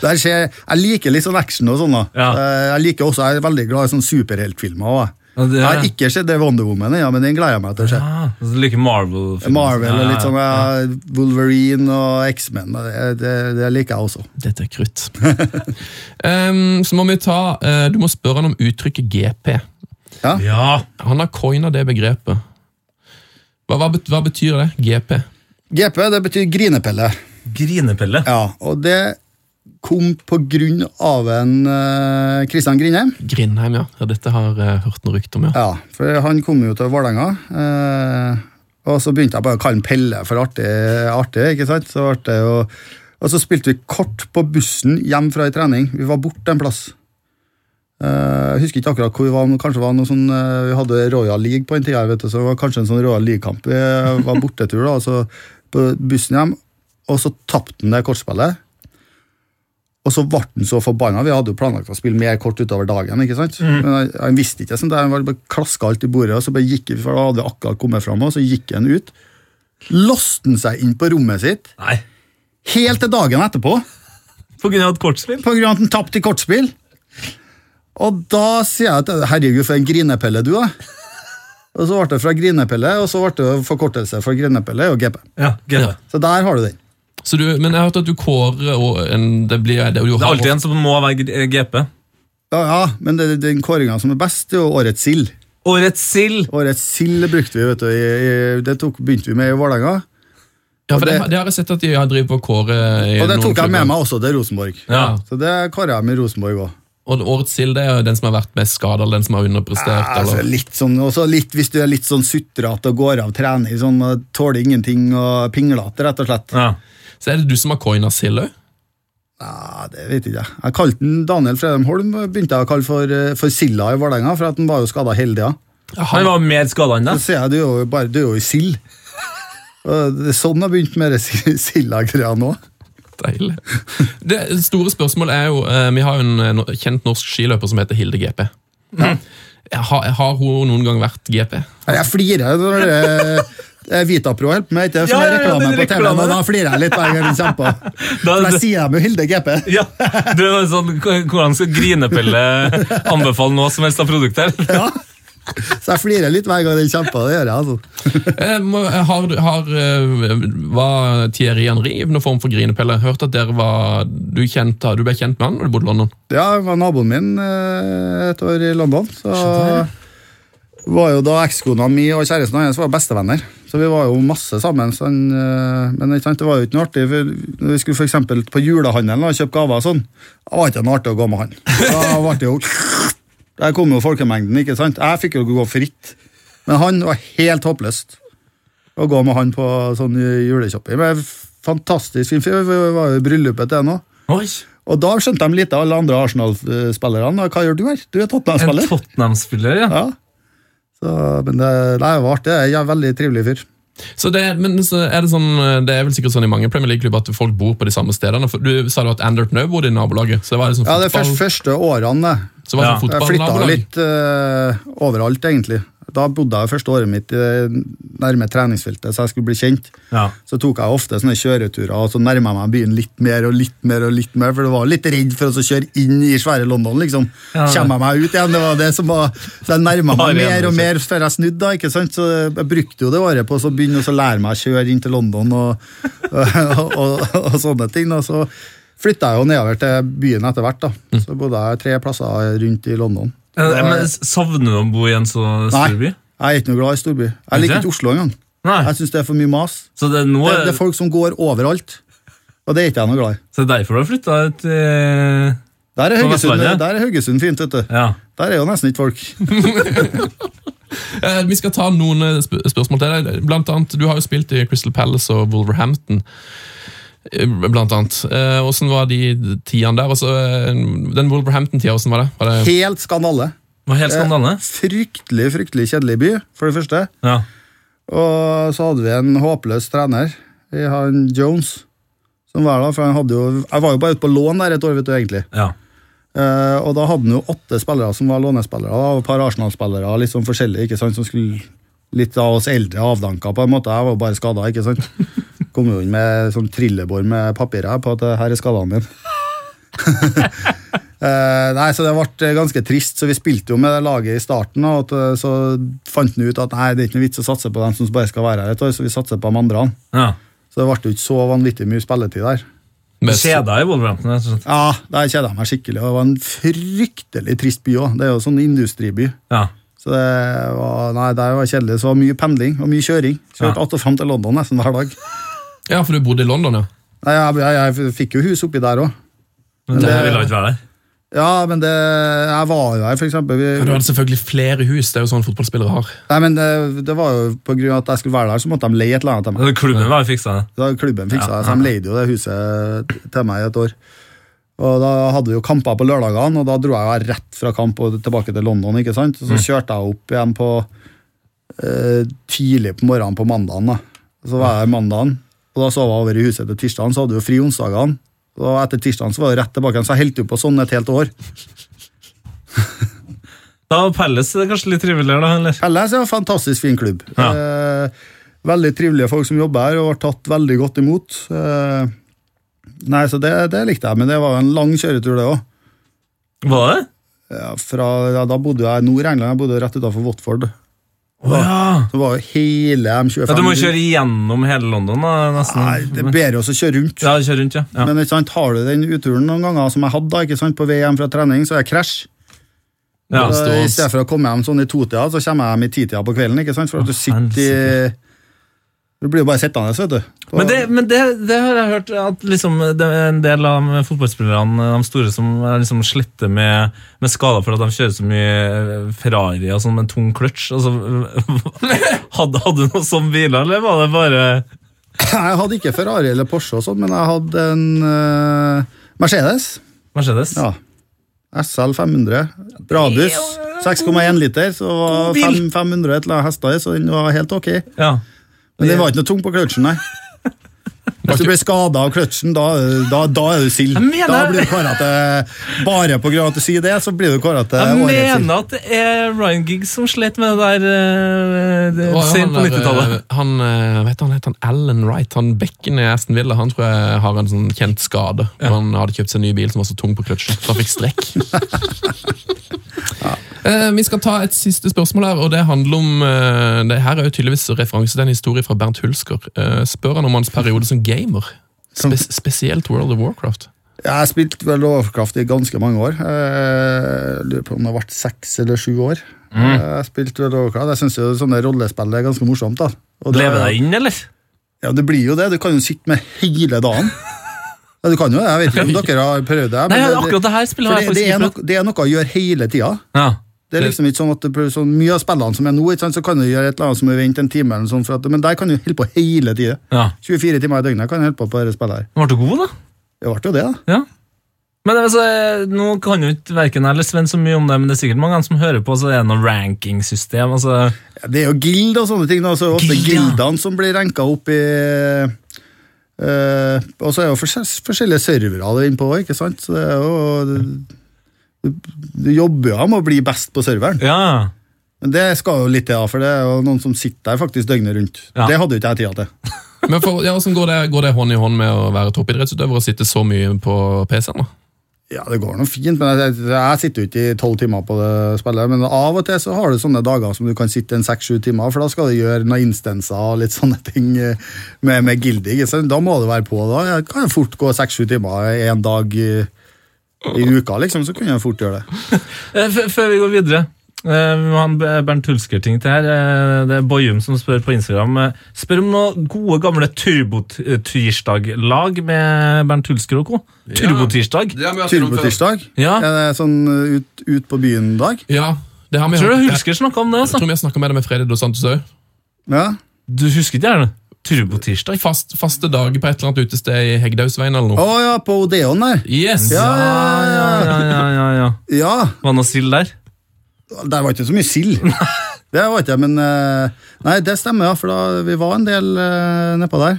S5: Der skjer, jeg liker litt sånn action og sånn. da.
S3: Ja.
S5: Eh, Jeg liker også, jeg er veldig glad i sånne superheltfilmer. også,
S3: Ja, det
S5: Jeg
S3: er-
S5: Jeg har ikke sett det Wonder Woman, ja, men den gleder jeg meg til å se.
S3: Ah, så du liker Marvel-filmer.
S5: Marvel og
S3: Ja,
S5: litt sånn
S3: ja.
S5: ja, Wolverine og X-Men. Det, det, det liker jeg også.
S4: Dette er krutt. Ehm, så må vi ta eh, Du må spørre han om uttrykket GP.
S3: Ja.
S4: Han har coina det begrepet. Hva, hva, bet- hva betyr det? GP?
S5: GP det betyr grinepelle.
S3: Grinepelle.
S5: Ja, Og det kom på grunn av en eh, Kristian Grindheim.
S4: eh, Grindheim, ja. ja dette har jeg hørt noe rykte om, ja.
S5: Ja, for han kom jo til Vålerenga. Eh, Og så begynte jeg bare å kalle han Pelle for artig, artig ikke sant? Så ble det jo... Og så spilte vi kort på bussen hjem fra ei trening. Vi var borte en plass. Eh, Jeg husker ikke akkurat hvor vi var, men kanskje det var noe sånn, eh, vi hadde Royal League på den tida, vet du, så det var kanskje en sånn Royal League-kamp. Vi var bortetur da, og så på bussen hjem, og så tapte han det kortspillet. Og så ble han så forbanna. Vi hadde jo planlagt å spille mer kort utover dagen. ikke sant? Men han- Han visste ikke sånn, der, han var bare klaska alt i bordet, og så bare gikk vi, for da hadde vi akkurat kommet fram, og så gikk han ut. Låste han seg inn på rommet sitt
S3: Nei.
S5: helt til dagen etterpå.
S3: På grunn av et kortspill?
S5: på grunn av at han tapte i kortspill. Og da sier jeg at herregud, for en grinepelle du er. Og så ble det fra grinepelle, og så ble det forkortelse fra grinepelle og GP.
S6: Ja,
S4: Ja.
S5: Så der har du den.
S4: Så du, men jeg har hørt at du kårer og en, det blir, det, du
S3: Det er
S4: har,
S3: alltid en som må være eh, gr- GP.
S5: Ja, ja, men det, den kåringa som er best, er jo Årets sild.
S3: Årets sild!
S5: Årets sild brukte vi, vet du. I, i, det tok, begynte vi med i Vålerenga.
S4: Ja, for det,
S5: og det-
S4: det har jeg sett at de har drivet på å kåre i
S5: Og det
S4: noen
S5: tok jeg med
S4: klubber.
S5: meg også til Rosenborg.
S4: Ja.
S5: Så det kårer jeg med Rosenborg òg.
S4: Og årets sild det er jo den som har vært mest skada, eller den som har underprestert.
S5: Altså,
S4: eller...
S5: litt sånn, også litt, hvis du er litt sånn sutrete og går av trening, sånn, og tåler ingenting og pinglete, rett og slett.
S3: Ja.
S4: Så er det du som har coina sild òg?
S5: Ja, det vet ikke jeg. Jeg kalte den Daniel Fredheim Holm begynte jeg å kalle for, eh, for Silda i Vålerenga, for at den var jo skada hele tida.
S3: Han var mer skada enn
S5: Så
S3: deg.
S5: sier jeg du er jo bare du er jo i sild. Og det er Sånn har begynt med det si- Silda-greia nå.
S4: Deilig. Det store spørsmålet er jo eh, Vi har jo en eh, no- kjent norsk skiløper som heter Hilde GP. Ja. Har, har hun noen gang vært GP?
S5: Nei, Jeg flirer når eh, det er Vitapro hjelper meg, ikke?
S3: Ja,
S5: Som
S3: ja,
S5: er
S3: ja,
S5: reklame
S3: den
S5: på TV,
S3: reklamen.
S5: men da flirer jeg litt hver gang den kommer på.
S3: Da,
S5: For jeg sier dem jo Hilde GP.
S3: ja, du er sånn, Hvordan skal Grinepelle anbefale noe som helst av produkter?
S5: Så jeg flirer litt hver gang den kommer på. Det gjør jeg, altså.
S4: Eh, må- eh, Har, du- har, eh, var Thierry Henry i noen form for grinepelle? Jeg Hørte at dere var, du, kjente, du ble kjent med han når du bodde i London?
S5: Ja, jeg var naboen min eh, et år i London. Så var jo da ekskona mi og kjæresten hans var bestevenner. Så vi var jo masse sammen. Så han, eh, men ikke sant, det var jo ikke noe artig. For når vi skulle for eksempel på julehandelen og kjøpe gaver og sånn, det var ikke noe artig å gå med han. Da ble det jo Der kom jo folkemengden, ikke sant. Jeg fikk jo gå fritt. Men han var helt håpløst å gå med han på sånn juleshopping. Men fantastisk fin fyr. Vi var jo i bryllupet til han òg.
S3: Oi,
S5: Og da skjønte de litt av alle andre Arsenal-spillerne. Hva gjør du her? Du er
S3: En
S5: Tottenham-spiller.
S3: Tottenham-spiller, ja.
S5: Ja. Så, men det, nei, det var artig. Jeg er en veldig trivelig fyr.
S4: Så det, men så er det, sånn, eh, det er vel sikkert sånn i mange Premier League-klubber at folk bor på de samme stedene. For du sa jo at Andert Nøe bodde i nabolaget. Så det var liksom
S5: Ja, det er
S4: fotball,
S5: først, første årene. det.
S4: så det var
S3: Ja.
S4: sånn
S5: Jeg flytta
S4: fotballnabolag.
S5: litt eh, overalt, egentlig. Da bodde jeg første året mitt eh, nærme treningsfeltet, så jeg skulle bli kjent.
S3: ja.
S5: Så tok jeg ofte sånne kjøreturer, og så nærma jeg meg byen litt mer og litt mer. og litt mer, For jeg var litt redd for å kjøre inn i svære London, liksom.
S3: Ja.
S5: Kommer jeg meg ut igjen? Det var det som var Så jeg nærma
S3: Bare
S5: meg mer
S3: gjennom,
S5: og mer før jeg snudde, da. ikke sant? Så jeg brukte jo det året på å så begynne å så lære meg å kjøre inn til London og, og, og, og sånne ting. da. Så flytta jeg jo nedover til byen etter hvert, da. Så bodde jeg tre plasser rundt i
S3: Eh,
S5: London.
S3: Mm. Men Savner du å bo i en så stor by?
S5: Nei, jeg er ikke noe glad i storby. Jeg liker ikke Oslo engang.
S3: Nei.
S5: Jeg syns det er for mye mas.
S3: Så det, er nå,
S5: Det, det er folk som går overalt, og det er ikke jeg noe glad i.
S3: så det er derfor du har flytta ut eh,
S5: Der er
S3: På
S5: Haugesund,
S3: Vestlandet?
S5: der er Haugesund fint, vet du.
S3: Ja.
S5: Der er jo nesten ikke folk.
S4: Eh, Vi skal ta noen eh, sp spørsmål til deg. Blant annet, du har jo spilt i Crystal Palace og Wolverhampton. eh, Blant annet. Eh, Hvordan var de tidene der? Også, eh, den Wolverhampton-tida, hvordan var det? Var det
S5: Helt skandale.
S3: Var
S5: Eh.
S3: helt skandale?
S5: Fryktelig, fryktelig kjedelig by, for det første.
S3: Ja.
S5: Og så hadde vi en håpløs trener, i han Jones, som var der, for han hadde jo Jeg var jo bare ute på lån der et år, vet du, egentlig.
S3: ja.
S5: Eh, og da hadde han jo åtte spillere som var lånespillere, da, og et par Arsenal-spillere, litt sånn forskjellige, ikke sant, som skulle litt av oss eldre avdanka, på en måte. Jeg var jo bare skada, ikke sant. Kom jo inn med sånn trillebår med papir her på at eh, her er skadene mine. Eh, nei, så det ble ganske trist, så vi spilte jo med det laget i starten, og at, eh, så fant han ut at nei, det er ikke noe vits å satse på dem som bare skal være her et år, så vi satser på de andre.
S3: ja.
S5: Så det ble jo ikke så vanvittig mye spilletid der.
S4: med-
S3: Kjeda i Wolverhampton. rett og slett.
S5: Ja, der kjeda jeg meg skikkelig. og Det var en fryktelig trist by òg. Det er jo sånn industriby.
S3: Ja.
S5: Så det var, nei, det var kjedelig. Så det var mye pendling og mye kjøring. Kjørte
S3: Ja.
S5: att og fram til London nesten hver dag.
S4: Ja, for du bodde i London, ja.
S5: Nei, jeg, jeg, jeg fikk jo hus oppi der òg.
S3: Men
S5: det-
S3: det ville ikke være der.
S5: Ja, men det, jeg var jo her, for eksempel. Vi,
S4: Men du hadde selvfølgelig flere hus. Det er jo sånn fotballspillere har.
S5: nei, men eh, det, det var jo på grunn av at jeg skulle være der, så måtte de leie et eller annet til meg.
S3: Men Klubben var jo fiksa det.
S5: Da klubben fiksa det, så de leide jo det huset til meg i et år. Og Da hadde vi jo kamper på lørdagene, og da dro jeg jo rett fra kamp og tilbake til London. ikke sant? Så kjørte jeg opp igjen på eh, tidlig på morgenen på mandagen. da. Så var jeg her mandagen, og da sov jeg over i huset til tirsdagen, så hadde vi jo fri onsdagene. Og etter tirsdagen så var det rett tilbake igjen, så jeg holdt jo på sånn et helt år.
S3: Da var Palace kanskje litt triveligere, da? eller?
S5: Pelles er en fantastisk fin klubb. Eh, veldig trivelige folk som jobber her, og har tatt veldig godt imot. Eh, nei, så det, det likte jeg, men det var jo en lang kjøretur, det òg.
S3: Var det?
S5: Ja, fra- ja, da bodde jeg i Nord-England, jeg bodde jo rett utenfor Watford.
S3: Å ja.
S5: Så var jo hele M25
S3: ja! Du må kjøre gjennom hele London, da, nesten.
S5: Nei, det er bedre også å kjøre rundt.
S3: Ja, kjøre rundt, ja. ja.
S5: Men ikke sant, har du den uturen noen ganger som jeg hadde da, ikke sant, på vei hjem fra trening, så er jeg krasj.
S3: Ja,
S5: Så
S4: stå-
S5: eh, I stedet for å komme hjem sånn i totida, så kommer jeg hjem i titida på kvelden. ikke sant? For at du sitter i Du blir jo bare sittende, vet du. Og-
S3: Men, det, men det, det har jeg hørt at liksom, det er en del av fotballspillerne, de store, som er liksom sletter med, med skader for at de kjører så mye Ferrari og sånn med tung kløtsj. Altså, hadde, hadde du noe sånn biler, eller var det bare
S5: Jeg hadde ikke Ferrari eller Porsche, og sånt, men jeg hadde en eh, Mercedes.
S3: Mercedes?
S5: Ja. SL 500. Radius 6,1 liter, så var
S3: bil.
S5: fem- 500 et eller annet hester i, så den var helt ok.
S3: Ja.
S5: Men den var ikke noe tung på kløtsjen, nei. Hvis du blir skada av kløtsjen, da, da, da er du sild.
S3: Jeg mener-
S5: Da blir du kåra til Bare på grunn av at du sier det, så blir du kåra til
S3: Jeg
S5: årets sild.
S3: mener at det er Ryan Giggs som slet med det der eh, det-
S4: Og
S3: sent på
S4: der,
S3: 90-tallet.
S4: eh, Han, eh, vet du, han heter han Alan Wright. Han bekken i Aston Villa han tror jeg har en sånn kjent skade. Han hadde kjøpt seg en ny bil som var så tung på kløtsjen, så han fikk strekk. Eh, Vi skal ta et siste spørsmål her, og det handler om eh, det Her er jo tydeligvis referanse til en historie fra Bernt Hulsker. Eh, Spør han om hans periode som gamer?
S5: Som-
S4: Spe spesielt World of Warcraft.
S5: Jeg spilte vel Lovecraft i ganske mange år. Eh, lurer på om det har vært seks eller sju år.
S3: Mm.
S5: Eh, Jeg spilte vel Lovecraft. Jeg syns jo sånne rollespill er ganske morsomt. da. Og det-
S3: Lever deg inn, eller?
S5: Ja, det blir jo det. Du kan jo sitte med hele dagen. Ja, du kan jo det. Jeg vet ikke om dere har prøvd det. men
S3: Nei, akkurat det her spillet
S5: for
S3: har
S5: det,
S3: jeg
S5: det,
S3: faktisk
S5: er
S3: ikke
S5: noe, det er noe å gjøre hele tida.
S3: Ja.
S5: Det er liksom ikke sånn at det, prøver- sånn, Mye av spillene som er nå, ikke sant, så kan du gjøre et eller annet som er vente en time, eller sånn, for at, men der kan du holde på hele tida.
S3: ja.
S5: 24 timer i døgnet kan du holde på på dette spillet her.
S3: Ble du god, da?
S5: Det ble jo det, da.
S3: Ja. Men altså, eh, Nå kan jo ikke verken jeg eller Sven så mye om det, men det er sikkert mange som hører på, så det er noe rankingsystem. altså...
S5: Det er jo guild og sånne ting. Da, så er det ofte
S3: Guild, ja.
S5: gildene som blir ranka opp i eh, Og så er det jo forskjell, forskjellige servere du er inne på, ikke sant? Så det er jo Du, du jobber jo med å bli best på serveren.
S3: Ja,
S5: Men Det skal jo litt til, da, for det er jo noen som sitter der faktisk døgnet rundt.
S3: Ja.
S5: Det hadde jo ikke jeg tida til.
S4: Men for, ja, hvordan går det, går det hånd i hånd med å være toppidrettsutøver og sitte så mye på PC-en? da?
S5: Ja, det går nå fint, men jeg, jeg sitter jo ikke i tolv timer på det spillet. Men av og til så har du sånne dager som du kan sitte en seks-sju timer, for da skal du gjøre noen instanser og litt sånne ting eh, med, med gildig. ikke sant? Da må du være på. Da Jeg kan jo fort gå seks-sju timer en dag i, i uka, liksom. Så kunne jeg fort gjøre det.
S3: Eh, f- Før vi går videre eh, Vi må ha en B- Bernt Hulsker-ting til her Eh, Det er Bojum som spør på Instagram eh, Spør om noen gode gamle Turbo-tirsdag-lag Med Bernt Hulsker og co Turbo-tirsdag
S5: Turbotirsdag.
S3: Ja.
S5: Er det sånn eh, ut, ut på byen-dag?
S4: Ja, det har vi
S3: Tror du
S4: hørt.
S3: Hulsker snakket om det?
S4: Jeg
S3: Altså?
S4: tror vi har snakket med deg med Fredrik Dos Santos òg.
S5: Ja.
S3: Du husker ikke det? Turbo-tirsdag
S4: Fast, faste dager på et eller annet utested i Hegdausveien eller
S5: Å
S4: noe.
S5: ja, på Odeon der.
S4: Yes!
S5: Ja,
S3: ja,
S5: ja, ja.
S3: ja, ja, ja, ja.
S5: ja.
S3: Var det noe sild der?
S5: Der var ikke så mye sild. Det var ikke, men eh, Nei, det stemmer, ja, for da, vi var en del eh, nedpå der.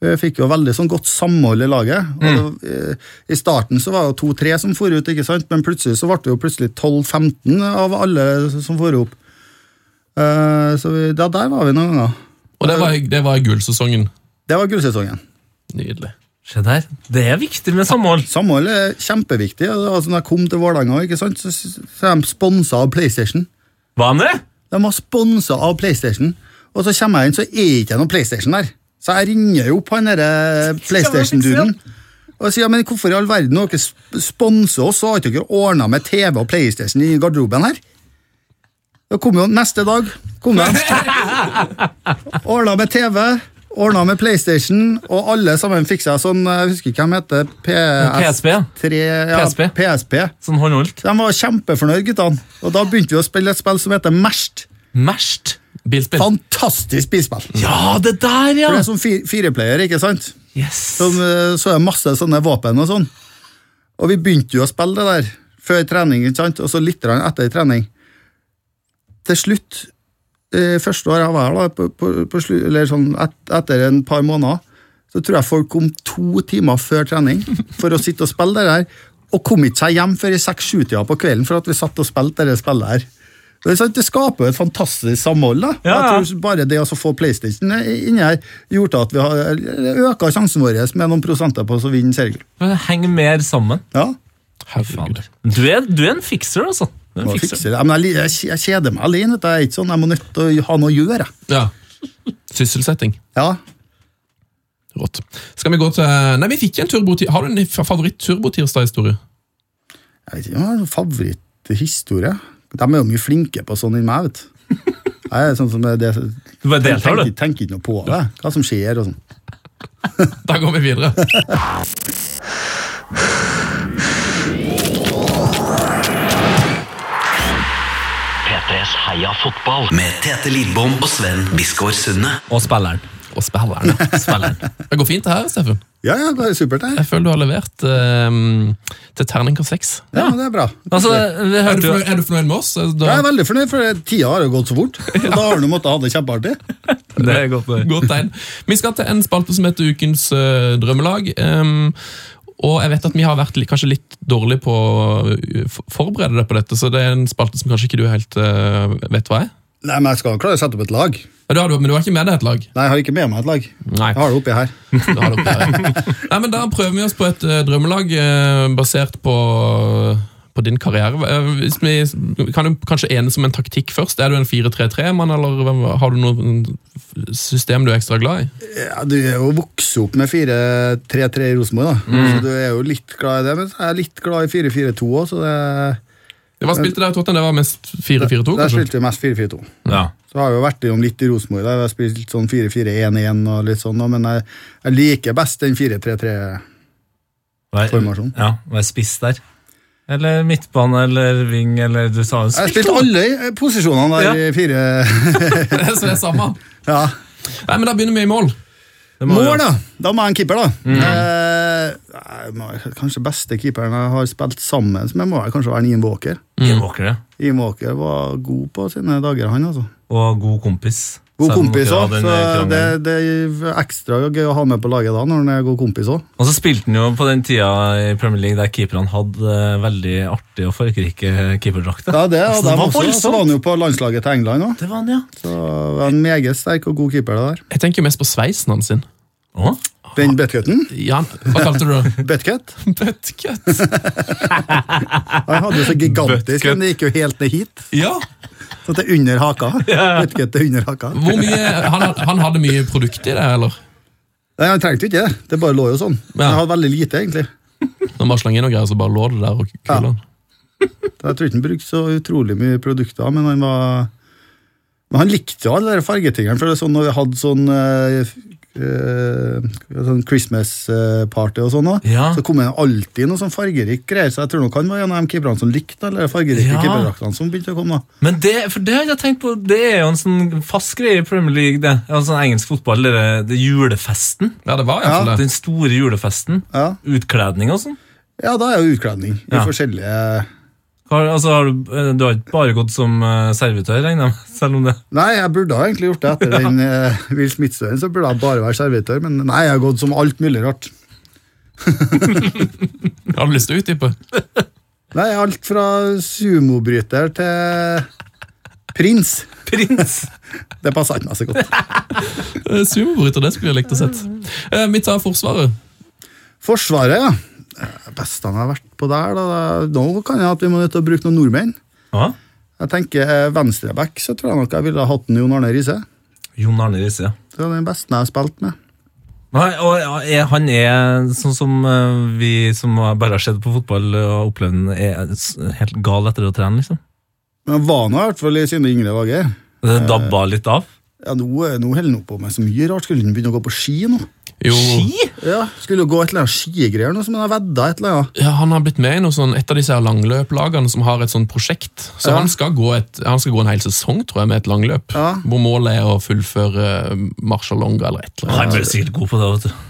S5: Vi fikk jo veldig sånn godt samhold i laget. Og, eh, I starten så var det jo to-tre som for ut, ikke sant? men plutselig så ble det jo plutselig 12-15 av alle som for opp. Eh, så vi, ja, der var vi noen ganger.
S4: Og det var, det var i gullsesongen.
S5: Det var gullsesongen.
S4: Nydelig.
S3: Se der, det er viktig med samhold
S5: Samhold er kjempeviktig. og det var sånn, da jeg kom til Vålerenga, ikke sant, så, så, så er de sponsa av PlayStation.
S3: Hva med det?
S5: De var sponsa av PlayStation, og så kommer jeg inn, så er ikke noen PlayStation der. Så jeg ringer jo opp han derre eh, PlayStation-duden og sier men hvorfor i all verden har dere sp- sponset oss, og har ikke dere ordna med TV og PlayStation i garderoben her? Da kom jo neste dag. kom de. Ordna med TV, Ordna med PlayStation, og alle sammen fikk seg sånn Jeg husker ikke hva de heter. PS3
S3: PSP, ja.
S5: ja,
S3: PSP.
S5: PSP.
S3: Sånn håndholdt.
S5: De var kjempefornøyd, guttene. Og da begynte vi å spille et spill som heter Merst.
S3: Merst.
S4: Bilspill.
S5: Fantastisk bilspill.
S3: Ja, det der, ja!
S5: For det er sånn fi- fireplayer, ikke sant?
S3: Yes.
S5: Som, eh, så er det masse sånne våpen og sånn. Og vi begynte jo å spille det der før trening, ikke sant? og så litt grann etter trening. Til slutt, eh, første året jeg var her, da, på, på, på slu, eller sånn et, etter en par måneder, så tror jeg folk kom to timer før trening for å sitte og spille det der, og kom ikke seg hjem før i seks-sju-tida på kvelden for at vi satt og spilte det spillet her. Det, er sant, det skaper jo et fantastisk samhold. da.
S3: Ja, ja.
S5: Jeg tror bare det å så få PlayStation inni her gjorde at vi har øka sjansen vår med noen prosenter på å vinne seriegull.
S3: Men Heng mer sammen.
S5: Ja.
S4: Herregud.
S3: Du er, du er en fikser, altså. Du er en
S5: Jeg,
S3: fikser.
S5: fikser det. Ja, men jeg, li- jeg, jeg kjeder meg alene. vet du. Jeg er ikke sånn, jeg må nødt til å ha noe å gjøre. jeg.
S4: Ja. Sysselsetting.
S5: Ja,
S4: Rått. Skal vi gå til Nei, vi fikk en turbotirsdag. Har du en fa- favoritt-turbotirsdag-historie?
S5: jeg vet ikke, jeg har en favoritthistorie. De er jo mye flinke på sånn enn meg, vet du. Jeg er sånn som er det,
S3: Du bare deltar,
S5: tenker,
S3: du.
S5: tenker ikke noe på det, hva som skjer og sånn.
S4: Da går vi videre.
S1: P3s Heia fotball med Tete Lidbom og Sven Biskår Sunde.
S3: Og spilleren.
S4: Og spillerne.
S3: spilleren.
S4: Det går fint, det her, Steffen.
S5: Ja, ja, det er supert, det.
S4: Jeg føler du har levert eh, til terningkast seks.
S5: Ja, men det er bra.
S3: Altså, vi
S4: Er, du
S3: hørte jo
S4: fornøyd- er du fornøyd med oss? Da-
S5: Jeg er veldig fornøyd, for tida har jo gått så fort. Og da har du måttet ha det kjempeartig.
S3: Det er godt å høre.
S4: Godt tegn. Vi skal til en spalte som heter Ukens eh, drømmelag. Ehm, og jeg vet at vi har vært li- kanskje litt dårlige på å eh, for- forberede deg på dette, så det er en spalte som kanskje ikke du helt eh, vet hva er.
S5: Nei, men jeg skal klare å sette opp et lag. Nei,
S4: Ja, du har, men du har ikke med deg et lag?
S5: jeg har ikke med meg et lag.
S4: Nei.
S5: Jeg har det oppi her.
S4: Du har det oppe her. Nei, men Da prøver vi oss på et eh, drømmelag eh, basert på, på din karriere. Eh, Hvis vi, kan du kanskje enes om en taktikk først? Er du en 4-3-3-mann, eller hvem- har du noe system du er ekstra glad i?
S5: Ja, du er jo vokst opp med 4-3-3 i Rosenborg, da. Så du er jo litt glad i det. Men jeg er litt glad i 4-4-2 òg, så det,
S4: Hva spilte dere i Tottenham? Det var mest 4-4-2,
S5: der
S4: kanskje?
S5: spilte vi mest 4-4-2.
S3: Ja.
S5: Så har jeg jo vært innom litt i Rosenborg. da. Jeg har spilt sånn 4-4-1-1 og litt sånn, da, men jeg, jeg liker best den 4-3-3-formasjonen. Formasjon.
S3: Ja, Vær spiss der. Eller midtbane eller ving eller du sa jo
S5: Jeg har spilt alle eh, posisjonene der i fire
S4: Så det er samme.
S5: Ja.
S4: Nei, men Da begynner vi i mål.
S3: Det må
S5: Mål,
S3: jo- Mm.
S5: da! Da må jeg ha en keeper, da. Eh, jeg må, kanskje beste keeperen jeg har spilt sammen med, må vel kanskje være Ian Walker.
S3: Ian Walker, Mm. ja.
S5: Ian Walker var god på sine dager, han, altså.
S3: Og god kompis.
S5: God
S3: Selv om
S5: kompis
S3: dere
S5: òg,
S3: hadde den
S5: så
S3: krangelen.
S5: det, det er ekstra gøy å ha med på laget da, når han er god kompis òg.
S3: Og så spilte han jo på den tida i Premier League der keeperne hadde eh, veldig artige og fargerike keeperdrakter.
S5: Ja, det
S3: Altså,
S5: hadde
S3: det var
S5: han også. Så
S3: voldsomt.
S5: var han jo på landslaget til England òg.
S3: Det var han, ja.
S5: En meget sterk og god keeper, det der.
S4: Jeg tenker jo mest på sveisen hans. sin.
S3: Å,
S5: Den buttcutten,
S4: Jan, hva kalte du det?
S5: buttcut,
S4: Buttcut.
S5: han hadde jo så gigantisk,
S3: Buttcut.
S5: men det gikk jo helt ned hit.
S4: Ja.
S5: Så til under haka. Buttcut til under haka.
S4: Hvor mye, han, han hadde mye produkt i det, eller?
S5: Nei, han trengte jo ikke det, det bare lå jo sånn. Men
S4: Ja.
S5: han hadde veldig lite, egentlig.
S4: Når man slang inn noe greier, så bare lå det der og
S5: Ja.
S4: kula.
S5: Jeg tror ikke han brukte så utrolig mye produkter, men han var Men han likte jo alle de fargetingene. For det er sånn når vi hadde sånn, eh, eh, sånn Christmas-party og sånn, også,
S3: Ja.
S5: så kom det alltid noe sånn fargerikt greier. Så jeg tror nok han var en av de keeperne som likte alle de fargerike
S3: Ja.
S5: keeperdraktene som begynte å komme. da.
S3: Men det, for det har jeg tenkt på, det er jo en sånn fast greie i Premier League, det. En sånn engelsk fotball, det, er- det er julefesten.
S4: Ja, det var iallfall det.
S3: Den store julefesten.
S5: Ja,
S3: Utkledning og sånn.
S5: ja da er jo utkledning i
S3: Ja. forskjellige-
S5: forskjellige
S3: Har, altså, har du, eh, du har ikke bare gått som eh, servitør, regner jeg med? Selv om det
S5: Nei, jeg burde ha egentlig gjort det etter den eh, Will Smith-støyen, så burde jeg bare være servitør, men nei, jeg har gått som alt mulig rart.
S4: Har du lyst til å utdype?
S5: Nei, alt fra sumobryter til prins.
S3: Prins!
S5: Det passer ikke meg så godt.
S4: Eh, Sumobryter, det skulle jeg likt å sett. Eh, Vi tar Forsvaret.
S5: Forsvaret, ja. Det Beste han har vært på der. Da. Nå kan jeg at vi må nødt til å bruke noen nordmenn.
S3: Ja.
S5: Jeg tenker eh, Venstreback, så tror jeg nok jeg ville ha hatt en Jon Arne Riise.
S3: Jon Arne Riise, ja.
S5: Det er den beste jeg har spilt med.
S3: Nei, og ja, er, Han er sånn som eh, vi som har- bare har sett på fotball eh, og opplevd den, er s- helt gal etter å trene, liksom.
S5: Men han var nå i hvert fall i sine yngre dager.
S3: Det dabba litt av.
S5: Ja, nå, eh, nå holder han på med så mye rart. Skulle han begynne å gå på ski nå?
S4: Jo,
S5: Ja, Skulle jo gå et eller annet skigreier nå, som han har vedda et eller annet.
S4: ja, han har blitt med i noe sånn, et av disse her langløplagene som har et sånt prosjekt. Så
S5: Ja.
S4: han, skal gå et, han skal gå en hel sesong, tror jeg, med et langløp.
S5: Ja.
S4: Hvor målet er å fullføre eh, Marshall Longa eller et eller
S3: Han
S4: annet.
S3: blir sikkert god på det, vet du.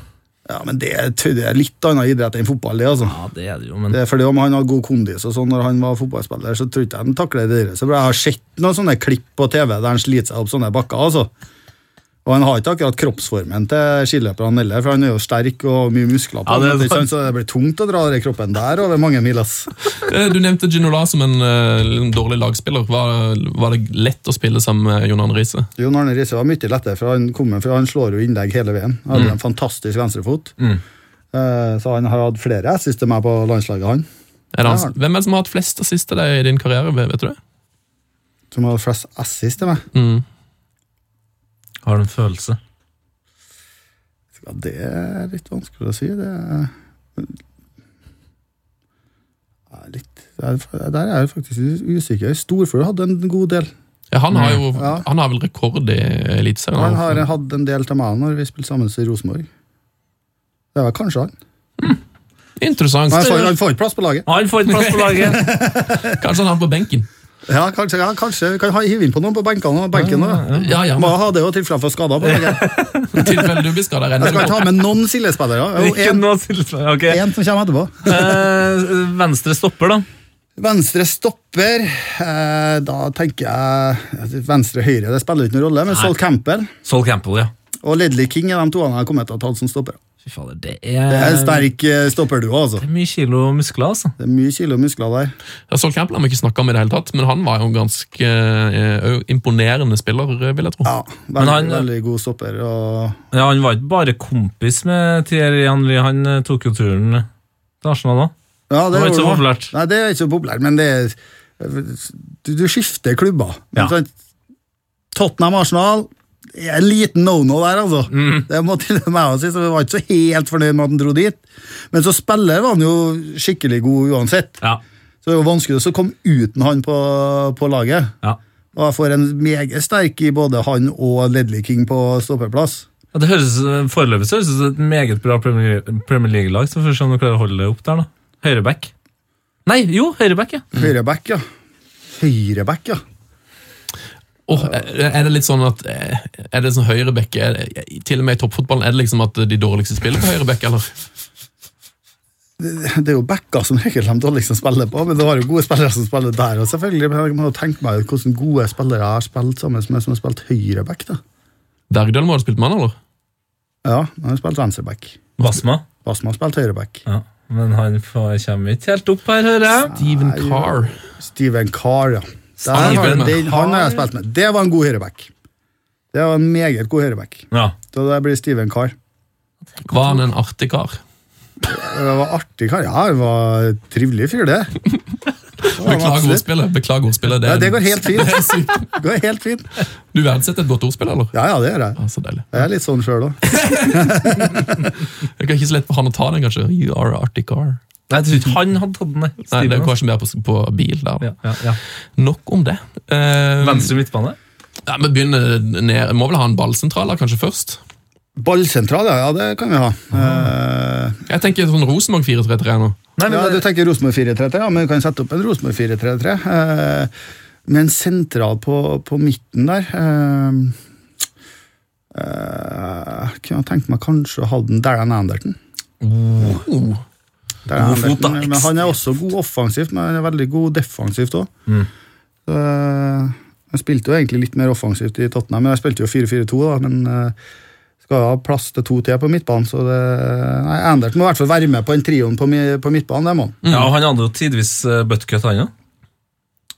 S5: Ja, men det, er- det er litt annen idrett enn fotball, det, altså.
S3: Ja, det er det jo, men
S5: Det er fordi om han hadde god kondis og sånn når han var fotballspiller, så tror ikke jeg han takler det der. Så jeg har sett noen sånne klipp på TV der han sliter seg opp sånne bakker, altså. Og han har ikke akkurat kroppsformen til skiløperne heller, for han er jo sterk og mye muskler på
S3: Ja, det er
S5: han, ikke
S3: sant.
S5: sant? så det blir tungt å dra den kroppen der over mange mil, ass.
S4: Eh, Du nevnte Ginola som en eh, litt dårlig lagspiller. Var, var det lett å spille sammen med Jon Arne Riise?
S5: Jon Arne Riise var mye lettere, for han kommer fra, han slår jo innlegg hele veien. Han
S4: Mm.
S5: hadde en fantastisk venstrefot. Eh, Så han har hatt flere assists til meg på landslaget, han.
S4: Er det han s-
S5: Ja.
S4: Hvem er det som har hatt flest assist til deg i din karriere? vet- vet du det?
S5: Som har flest assists til meg.
S4: Mm.
S3: har du en følelse?
S5: Ja, det er litt vanskelig å si. Det er, det er litt det er, Der er jeg faktisk usikker. Storfugl hadde en god del.
S4: Ja, han, har jo,
S5: Mm. Ja.
S4: han har vel rekord i Eliteserien?
S5: Han har hatt en del til meg når vi spilte sammen i Rosenborg. Det var kanskje han.
S4: Interessant.
S5: Men jeg får, han får ikke plass på laget.
S3: Han får ikke plass på laget!
S4: Kanskje han har på benken.
S5: Ja, kanskje, ja, kanskje. Vi kan ha- hive inn på noen på benkene og benken òg.
S4: Ja, ja,
S5: Må
S4: men
S5: ha det i tilfelle for skader på laget.
S4: i tilfelle du blir skadet, renner
S5: Jeg skal
S4: det
S5: ikke
S4: opp.
S5: ha med noen Silje-spillere. Jo,
S3: Ikke
S5: en-
S3: noe tilslag. Ok.
S5: En som kommer etterpå.
S3: Eh, venstre stopper, da.
S5: Venstre stopper. Eh, da tenker jeg Venstre-høyre, det spiller ikke noen rolle, men Sol Campbell.
S3: Sol Campbell, ja.
S5: Og Ledley King er de to han har kommet til å ta som stopper.
S3: Fy fader, det
S5: Det er
S3: er,
S5: en sterk eh, stopperduo, altså.
S3: det er mye kilo muskler, altså.
S5: Det er mye kilo muskler der.
S4: Ja, Sol Campbell har vi ikke snakket om i det hele tatt, men han var jo en ganske eh, eh, imponerende spiller, eh, vil jeg tro.
S5: Ja,
S3: Men
S5: veldig,
S3: han-
S5: veldig god stopper. Og
S3: Ja, han var ikke bare kompis med Thierry Henry, han eh, tok jo turen til Arsenal òg.
S5: ja,
S3: Det var ikke
S5: gjorde
S3: så
S5: han.
S3: populært.
S5: Nei, det er ikke så populært, men det er Du, du skifter klubber.
S3: Ja.
S5: Sånn, Tottenham-Arsenal det er en liten no-no der, altså.
S3: Mm.
S5: Det må til og med jeg si, så Vi var ikke så helt fornøyd med at han dro dit. Men så spiller var han jo skikkelig god uansett.
S3: Ja.
S5: Så det var vanskelig å komme uten han på, på laget.
S3: Ja.
S5: Og jeg får en meget sterk i både han og Ledley King på stoppeplass.
S3: Ja, det høres, eh, Foreløpig så høres det ut som et meget bra Premier Premier League-lag. Så får vi se om du klarer å holde det opp der, da. Høyreback. Nei, jo, høyreback, ja.
S5: Høyreback, ja. Høyreback, ja.
S4: Åh, er er det litt sånn at eh, Er det sånn høyreback er det- Til og med i toppfotballen er det liksom at de dårligste spiller på høyreback, eller?
S5: Det er jo backer som regel de dårligste spiller liksom på, men du har jo gode spillere som spiller der. Og selvfølgelig, men jeg må jo tenke meg hvordan gode spillere jeg har spilt sammen med som har spilt høyreback. da.
S4: Bergdøl må ha spilt med han, eller?
S5: Ja, han har spilt venstreback.
S3: Basma.
S5: Basma har spilt høyreback.
S3: Ja. Men han får, kommer ikke helt opp her, hører jeg.
S4: Steven Carr.
S5: Steven Carr, ja. Der har
S4: Steven
S5: han- den, han har jeg spilt med. Det var en god høyreback. Det var en meget god høyreback.
S3: Ja.
S5: Så det blir Steven Carr.
S4: Var han en artig kar?
S5: Det var artig kar. Ja, det var en trivelig fyr, det.
S4: Beklager ordspillet. beklager ordspillet.
S5: Ja,
S4: er-
S5: det går helt fint.
S4: Det er sykt.
S5: Det går helt fint.
S4: Du verdsetter et godt ordspill, eller?
S5: Ja, ja, det gjør jeg.
S4: Ja, så deilig.
S5: Jeg er litt sånn sjøl òg.
S4: Det er ikke så lett for han å ta den, kanskje. You are a artig car.
S3: Nei, jeg tror ikke han hadde tatt den, nei.
S4: Nei, det er
S3: Steven,
S4: jo kanskje mer på, på bil der.
S3: ja, ja, ja.
S4: Nok om det. Eh,
S3: Venstre midtbane.
S4: ja, vi begynner ned. Må vel ha en ballsentral da, kanskje først?
S5: Ballsentral, ja. ja, Det kan vi ha.
S3: Ah.
S5: Eh,
S4: Jeg tenker sånn Rosenborg 4-3-3 nå.
S3: Nei, men
S5: ja, du
S3: det,
S5: tenker Rosenborg 4-3-3, ja, men du kan sette opp en Rosenborg 4-3-3. eh, med en sentral på, på midten der. eh, eh, kunne jeg tenkt meg kanskje å ha den Darren Anderton.
S4: Oh.
S5: Darren
S3: God fot, da.
S5: Anderton, Men han er også god offensivt, men han er veldig god defensivt òg.
S3: Mm.
S5: jeg spilte jo egentlig litt mer offensivt i Tottenham, men jeg spilte jo 4-4-2, da. Men eh, skal ha plass til to til på midtbanen, så det Nei, Anderton må i hvert fall være med på den trioen på, mi- på midtbanen, det må han.
S3: ja, han hadde jo tidvis eh, buttcut, han òg. Ja.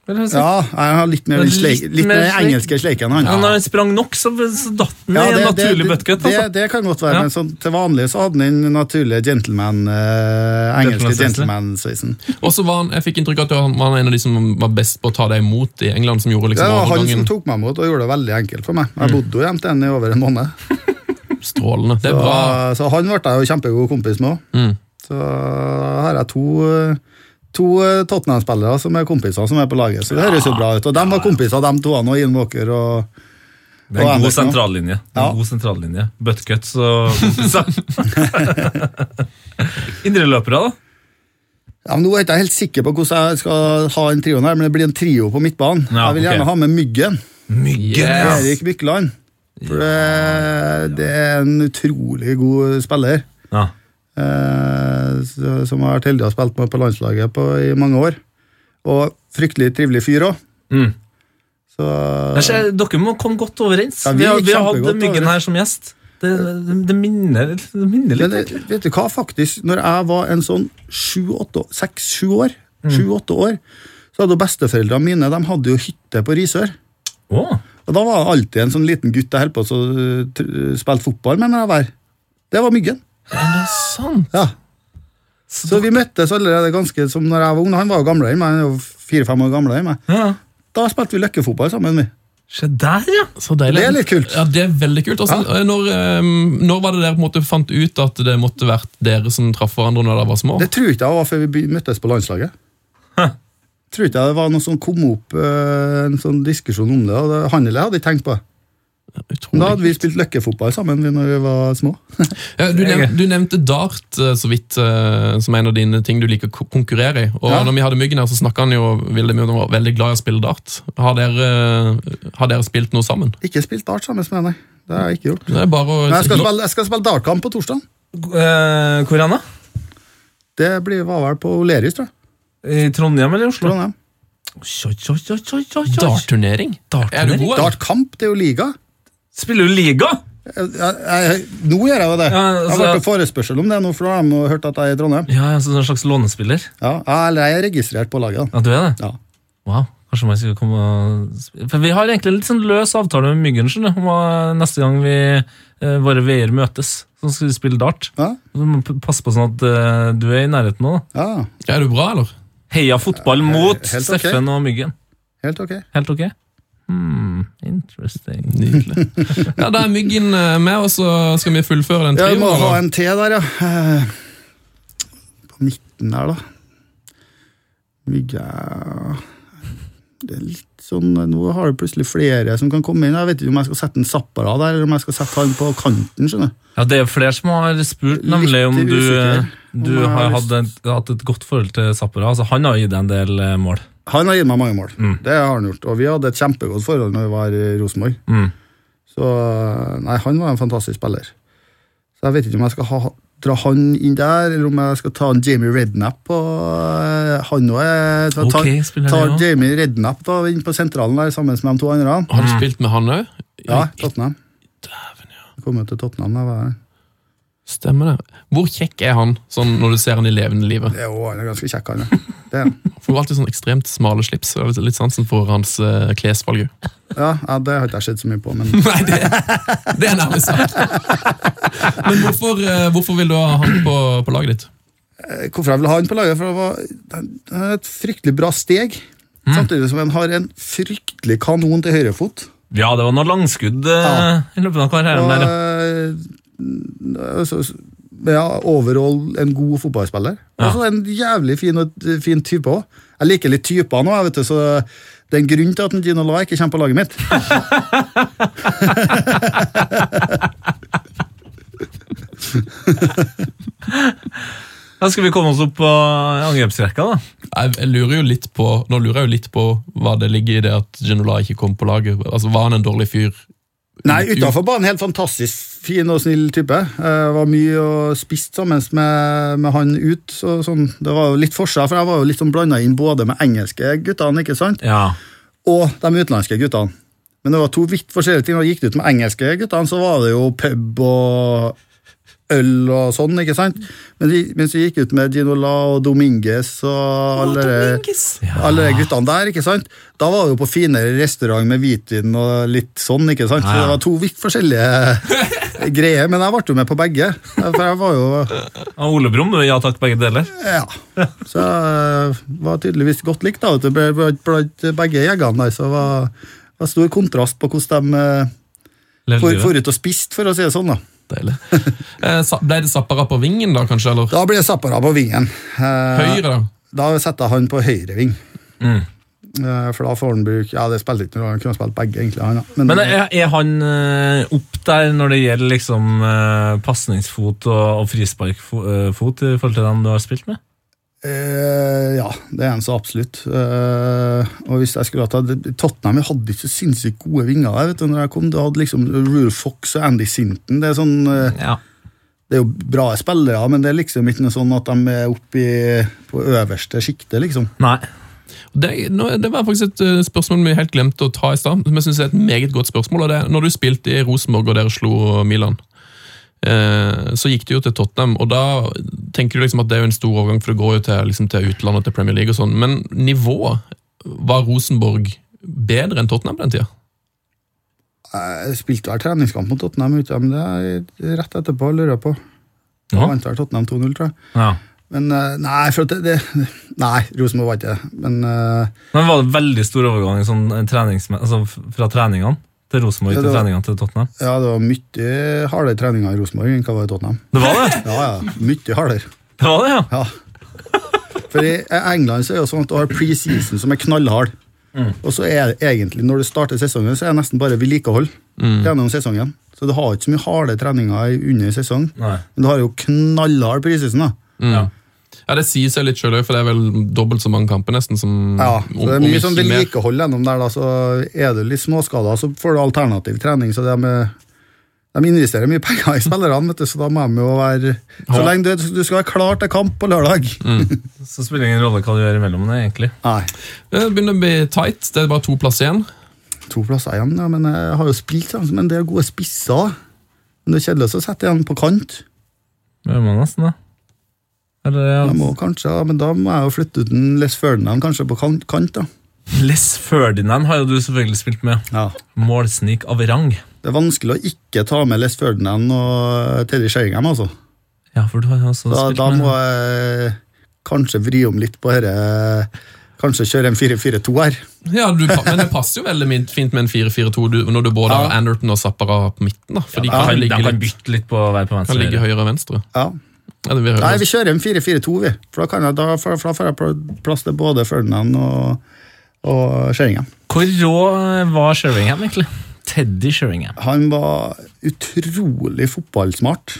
S5: Ja, jeg har litt mer
S3: Men
S5: den sleik,
S3: litt
S5: litt mer
S3: mer
S5: den
S3: sleik.
S5: engelske sleiken han.
S3: Men når han sprang nok, så, så datt han
S5: Ja,
S3: i en
S5: det- det-
S3: naturlig buttcut.
S5: det,
S3: Altså.
S5: det kan godt være,
S3: Ja.
S5: men sånn, til vanlig så hadde han den naturlige gentleman, eh, engelske
S3: Gentleman-sveisen.
S5: gentleman-sveisen.
S4: Og så var han, Jeg fikk inntrykk av at han var en av de som var best på å ta deg imot i England, som gjorde
S5: Det
S4: liksom
S5: var han som
S4: overgangen
S5: tok meg imot og gjorde det veldig enkelt for meg. Jeg
S3: Mm.
S5: bodde jo hjemme til henne i over en måned,
S4: strålende. Det er
S5: så,
S4: bra.
S5: så han ble jeg jo kjempegod kompis med òg.
S4: Mm.
S5: Så her er to eh, To eh, Tottenham-spillere som er kompiser som er på laget, så det høres jo bra ut. Og de var kompiser, de to, han og Ian Walker og
S3: Det er
S5: Og
S3: en god
S5: Andersen også.
S3: sentrallinje. Det er
S5: Ja.
S3: En god sentrallinje. Buttcuts og Indreløpere, da?
S5: Ja, men nå er jeg ikke helt sikker på hvordan jeg skal ha den trioen her, men det blir en trio på midtbanen.
S3: Ja,
S5: jeg vil gjerne
S3: ok.
S5: ha med Myggen.
S4: Yes.
S5: Erik Bykkeland. For det, det er en utrolig god spiller.
S3: Ja.
S5: Eh, så- som har vært heldig å ha spilt med på landslaget på, i mange år. Og fryktelig trivelig fyr òg.
S3: Mm.
S5: Så
S3: Jeg ser- Dere må komme godt overens.
S5: Ja, vi
S3: vi, har,
S5: gikk
S3: vi har
S5: kjempegodt
S3: hatt Myggen her som gjest. Det, det, det, minner, det minner
S5: Men
S3: litt.
S5: det, vet du hva, faktisk, når jeg var en sånn sju-åtte seks-sju år,
S3: Mm.
S5: sju-åtte år, så hadde jo besteforeldrene mine de hadde jo hytte på Risør.
S3: Å,
S5: Og da var det alltid en sånn liten gutt jeg holdt på å så, eh, tr- spilte fotball med når jeg var Det var Myggen.
S4: Er det sant?
S5: Ja. Så vi møttes allerede ganske som når jeg var ung. Han var jo gamlere enn meg. han var jo Fire-fem år gamlere enn meg.
S3: ja.
S5: Da spilte vi løkkefotball sammen. vi.
S3: Se der, ja!
S4: Så deilig.
S5: Det er litt kult.
S4: Ja, det er veldig kult. Altså, når, ehm, når var det dere på en måte fant ut at det måtte vært dere som traff hverandre når dere var små?
S5: Det tror jeg ikke det var før vi be- møttes på landslaget. Tror ikke det var noe som kom opp eh, en sånn diskusjon om det. og det- Handel jeg hadde ikke tenkt på. det. Men Da
S4: Utrolig.
S5: hadde vi spilt løkkefotball sammen vi når vi var små.
S4: Ja, du, nevnte, du nevnte dart eh, så vidt eh, som en av dine ting du liker å ko- konkurrere i. Og
S5: Ja.
S4: når vi hadde Myggen her, så snakka han jo veldig mye om han var veldig glad i å spille dart. Har dere, eh, har dere spilt noe sammen?
S5: Ikke spilt dart sammen med nei. Det har jeg ikke gjort.
S4: Det er bare å
S5: Men jeg skal spille, jeg skal spille dartkamp på torsdag.
S3: Eh, Hvor er han, da?
S5: Det blir, var vel på Lerøy, tror jeg.
S3: I Trondheim eller i Oslo?
S5: Trondheim.
S3: Oi, oi, oi, oi, oi, oi.
S4: Dartturnering? Er du
S3: Dartturnering?
S4: god? eller?
S5: Dartkamp, det er jo liga.
S3: Spiller du liga?
S5: Jeg, jeg, jeg, nå gjør jeg jo det.
S3: Ja,
S5: jeg
S3: altså-
S5: har vært på forespørsel om det nå, for da har de hørt at jeg er i Trondheim.
S3: Ja, altså en slags lånespiller.
S5: Ja, eller jeg er registrert på laget. da.
S3: Ja, du er det?
S5: Ja.
S3: Wow. Kanskje man skal komme og sp- For vi har egentlig en litt sånn løs avtale med Myggen skjønner du, om hva- neste gang vi, eh, våre veier møtes. Så skal vi spille dart.
S5: Ja,
S3: Så må p- passe på sånn at eh, du er i nærheten nå. da.
S5: ja,
S4: Er du bra, eller?
S3: Heia fotball mot
S5: eh, helt ok.
S3: Steffen og Myggen.
S5: helt ok.
S3: Helt ok? Hmm, interesting.
S4: Nydelig. Ja, Da er Myggen eh, med, og så skal vi fullføre den
S5: Ja, vi må
S4: trioen.
S5: ha
S4: eller?
S5: en T der, ja. Eh, På 19 der, da. Mygge Det er litt sånn Nå har du plutselig flere som kan komme inn. Jeg vet ikke om jeg skal sette en Zappara der, eller om jeg skal sette han på kanten. skjønner du.
S3: Ja, det er flere som har spurt nemlig om
S5: Litt
S3: du,
S5: usikker om
S3: du
S5: jeg har
S3: har
S5: lyst.
S3: hatt et, hatt et godt forhold til Zappara. Altså, han har gitt deg en del eh, mål.
S5: Han har gitt meg mange mål.
S3: Mm.
S5: Det har han gjort. Og vi hadde et kjempegodt forhold når vi var i Rosenborg.
S3: Mm.
S5: Så nei, han var en fantastisk spiller. Så jeg vet ikke om jeg skal ha, dra han inn der, eller om jeg skal ta en Jamie Redknapp og eh, han òg. Ta,
S3: Ok, spiller
S5: ta
S3: det også.
S5: Jamie Redknapp da, inn på sentralen der sammen med de to andre.
S4: Har du spilt med han òg?
S5: Ja, Tottenham. Jeg kom jo til Tottenham da jeg var der.
S4: Stemmer det. Hvor kjekk er han sånn når du ser han i levende livet?
S5: Det er jo, han er ganske kjekk, han. ja. Det er han.
S4: Han får alltid sånn ekstremt smale slips. og Litt sansen for hans eh, klesvalg. jo.
S5: Ja, ja, det har ikke jeg sett så mye på, men
S4: Nei, det, det er nærmest sant. Men hvorfor, eh, hvorfor vil du ha han på, på laget ditt?
S5: hvorfor jeg ville ha han på laget, for det var det er et fryktelig bra steg. Samtidig som han har en fryktelig kanon til høyrefot.
S3: Ja, det var noe langskudd eh,
S5: Ja.
S3: i løpet av karrieren
S5: Og,
S3: der. ja.
S5: eh, altså, s- ja, overall en god fotballspiller. Og så en jævlig fin, og- eh, fin type òg. Jeg liker litt typer nå, jeg vet du, så det er en grunn til at en Gino La ikke kommer på laget mitt.
S3: Da skal vi komme oss opp på angrepsrekka, da.
S4: Jeg, jeg lurer jo litt på, nå lurer jeg jo litt på hva det ligger i det at Genola ikke kom på laget. Altså, Var han en dårlig fyr?
S5: Nei, utafor banen helt fantastisk fin og snill type. Eh, var mye og spist sammen med, med han ut. Så, sånn, det var jo litt forskjell, for jeg var jo litt sånn blanda inn både med engelske guttene ikke sant?
S3: Ja.
S5: og de utenlandske guttene. Men det var to vidt forskjellige ting. Når jeg gikk ut med engelske guttene, så var det jo pub og øl og sånn, ikke sant? Men de- mens vi gikk ut med Ginola og Dominguez og alle de- alle de guttene der, ikke sant? Da var det jo på finere restaurant med hvitvin og litt sånn, ikke sant? Så det var to vidt forskjellige greier, men jeg ble jo med på begge. For jeg var jo
S3: Og Ole Brumm, ja takk, begge deler.
S5: Ja. Så jeg var tydeligvis godt likt, da. vet du, blant- Blant blant begge jegerne der, så var var stor kontrast på hvordan de eh,
S3: Levde
S5: for,
S3: livet.
S5: forut og spiste, for å si det sånn. Da
S4: Deilig. Eh, sa- Ble det Zappara på vingen, da, kanskje? Eller
S5: Da ble Zappara på vingen. Eh,
S4: høyre? da?
S5: Da setter jeg han på høyreving. Eh, For da får han bruk Ja, det spilte ikke noe, han kunne ha spilt begge, egentlig. Han, da. men,
S3: Men er, er han eh, opp der når det gjelder liksom eh, pasningsfot og, og frisparkfot i forhold til dem du har spilt med?
S5: eh, ja, det er han så absolutt. Eh, og hvis jeg skulle ha tatt Tottenham vi hadde ikke så sinnssykt gode vinger der. vet du, når jeg kom. Du hadde liksom Rule Fox og Andy Sinton. Det er sånn eh,
S3: Ja.
S5: det er jo bra spillere, men det er liksom ikke noe sånn at de er oppe i- på øverste sjiktet, liksom.
S3: Nei.
S4: Det, nå- det var faktisk et eh, spørsmål vi helt glemte å ta i stad. som jeg synes er et meget godt spørsmål, og det er, Når du spilte i Rosenborg og dere slo Milan, eh, så gikk du jo til Tottenham. og Da tenker du liksom at det er jo en stor overgang, for det går jo til, liksom, til utlandet, til Premier League og sånn. Men nivået var Rosenborg bedre enn Tottenham på den tida?
S5: Jeg spilte hver treningskamp mot Tottenham ute, men det er rett etterpå, lurer jeg på.
S3: Ja.
S5: Ja. Vant vel Tottenham 2-0, tror jeg.
S3: Ja.
S5: Men eh, nei, for at det, det Nei, Rosenborg var ikke det. Men eh,
S3: Men var det veldig stor overgang sånn, eh, treningsme- altså, f- fra treningene til Rosenborg
S5: Ja, det
S3: til
S5: var-
S3: treningene til Tottenham?
S5: ja, det var mye hardere treninger i Rosenborg enn hva det var i Tottenham.
S3: Det var det!
S5: Ja, ja, mye hardere.
S3: Det var det, ja.
S5: Ja. For i England så er det jo sånn at du har preseason som er knallhard. Og så er det egentlig, når du starter sesongen, så er det nesten bare vedlikehold gjennom sesongen. Så du har ikke så mye harde treninger i- under sesong,
S3: Nei.
S5: men du har jo knallhard preseason, da.
S4: Ja, Det sier seg litt sjøl òg, for det er vel dobbelt så mange kamper nesten som
S5: Ja, så det er mye sånn
S4: ikke mer.
S5: vedlikehold gjennom der, da, så er du litt småskada, så får du alternativ trening. så det er med de investerer mye penger i spillerne, vet du, så da må de jo være Så lenge du, du skal være klar til kamp på lørdag.
S3: Så spiller det ingen rolle hva du gjør imellom det, egentlig.
S5: Nei,
S4: Det Eh, begynner å bli tight. Det er bare to plasser igjen.
S5: to plasser igjen, ja, men jeg har jo spilt sammen med en del gode spisser. da. Men det er kjedelig å sette igjen på kant.
S3: Det gjør man nesten, da. Eller,
S5: Jeg
S3: ja.
S5: må kanskje, ja, Men da må jeg jo flytte ut en Les Ferdinand kanskje på kant, kant da.
S3: Les Ferdinand har jo du selvfølgelig spilt med.
S5: Ja.
S3: Målsnik av rang.
S5: Det er vanskelig å ikke ta med Les Ferdinand og Teddy Sheringham, altså.
S3: Ja, for du har jo også
S5: Da,
S3: spilt
S5: da
S3: med
S5: må jeg kanskje vri om litt på dette. Kanskje kjøre en 4-4-2 her.
S4: Ja, du, Men det passer jo veldig min- fint med en 4-4-2 du- når du både har Anderton og Zappara på midten. da For de
S3: Ja,
S4: kan,
S3: de
S4: ligge,
S3: kan
S4: litt,
S3: bytte litt på hver på
S4: kan
S3: venstre.
S4: ligge høyere og venstre.
S5: Ja.
S4: Ja, det blir høyre.
S5: Nei, vi kjører en 4-4-2, vi. For da, kan jeg, da, for, for da får jeg pl- plass til både Ferdinand og, og Sheringham.
S3: Hvor rå var Sheringham, egentlig? Teddy Sheringham.
S5: Han var utrolig fotballsmart.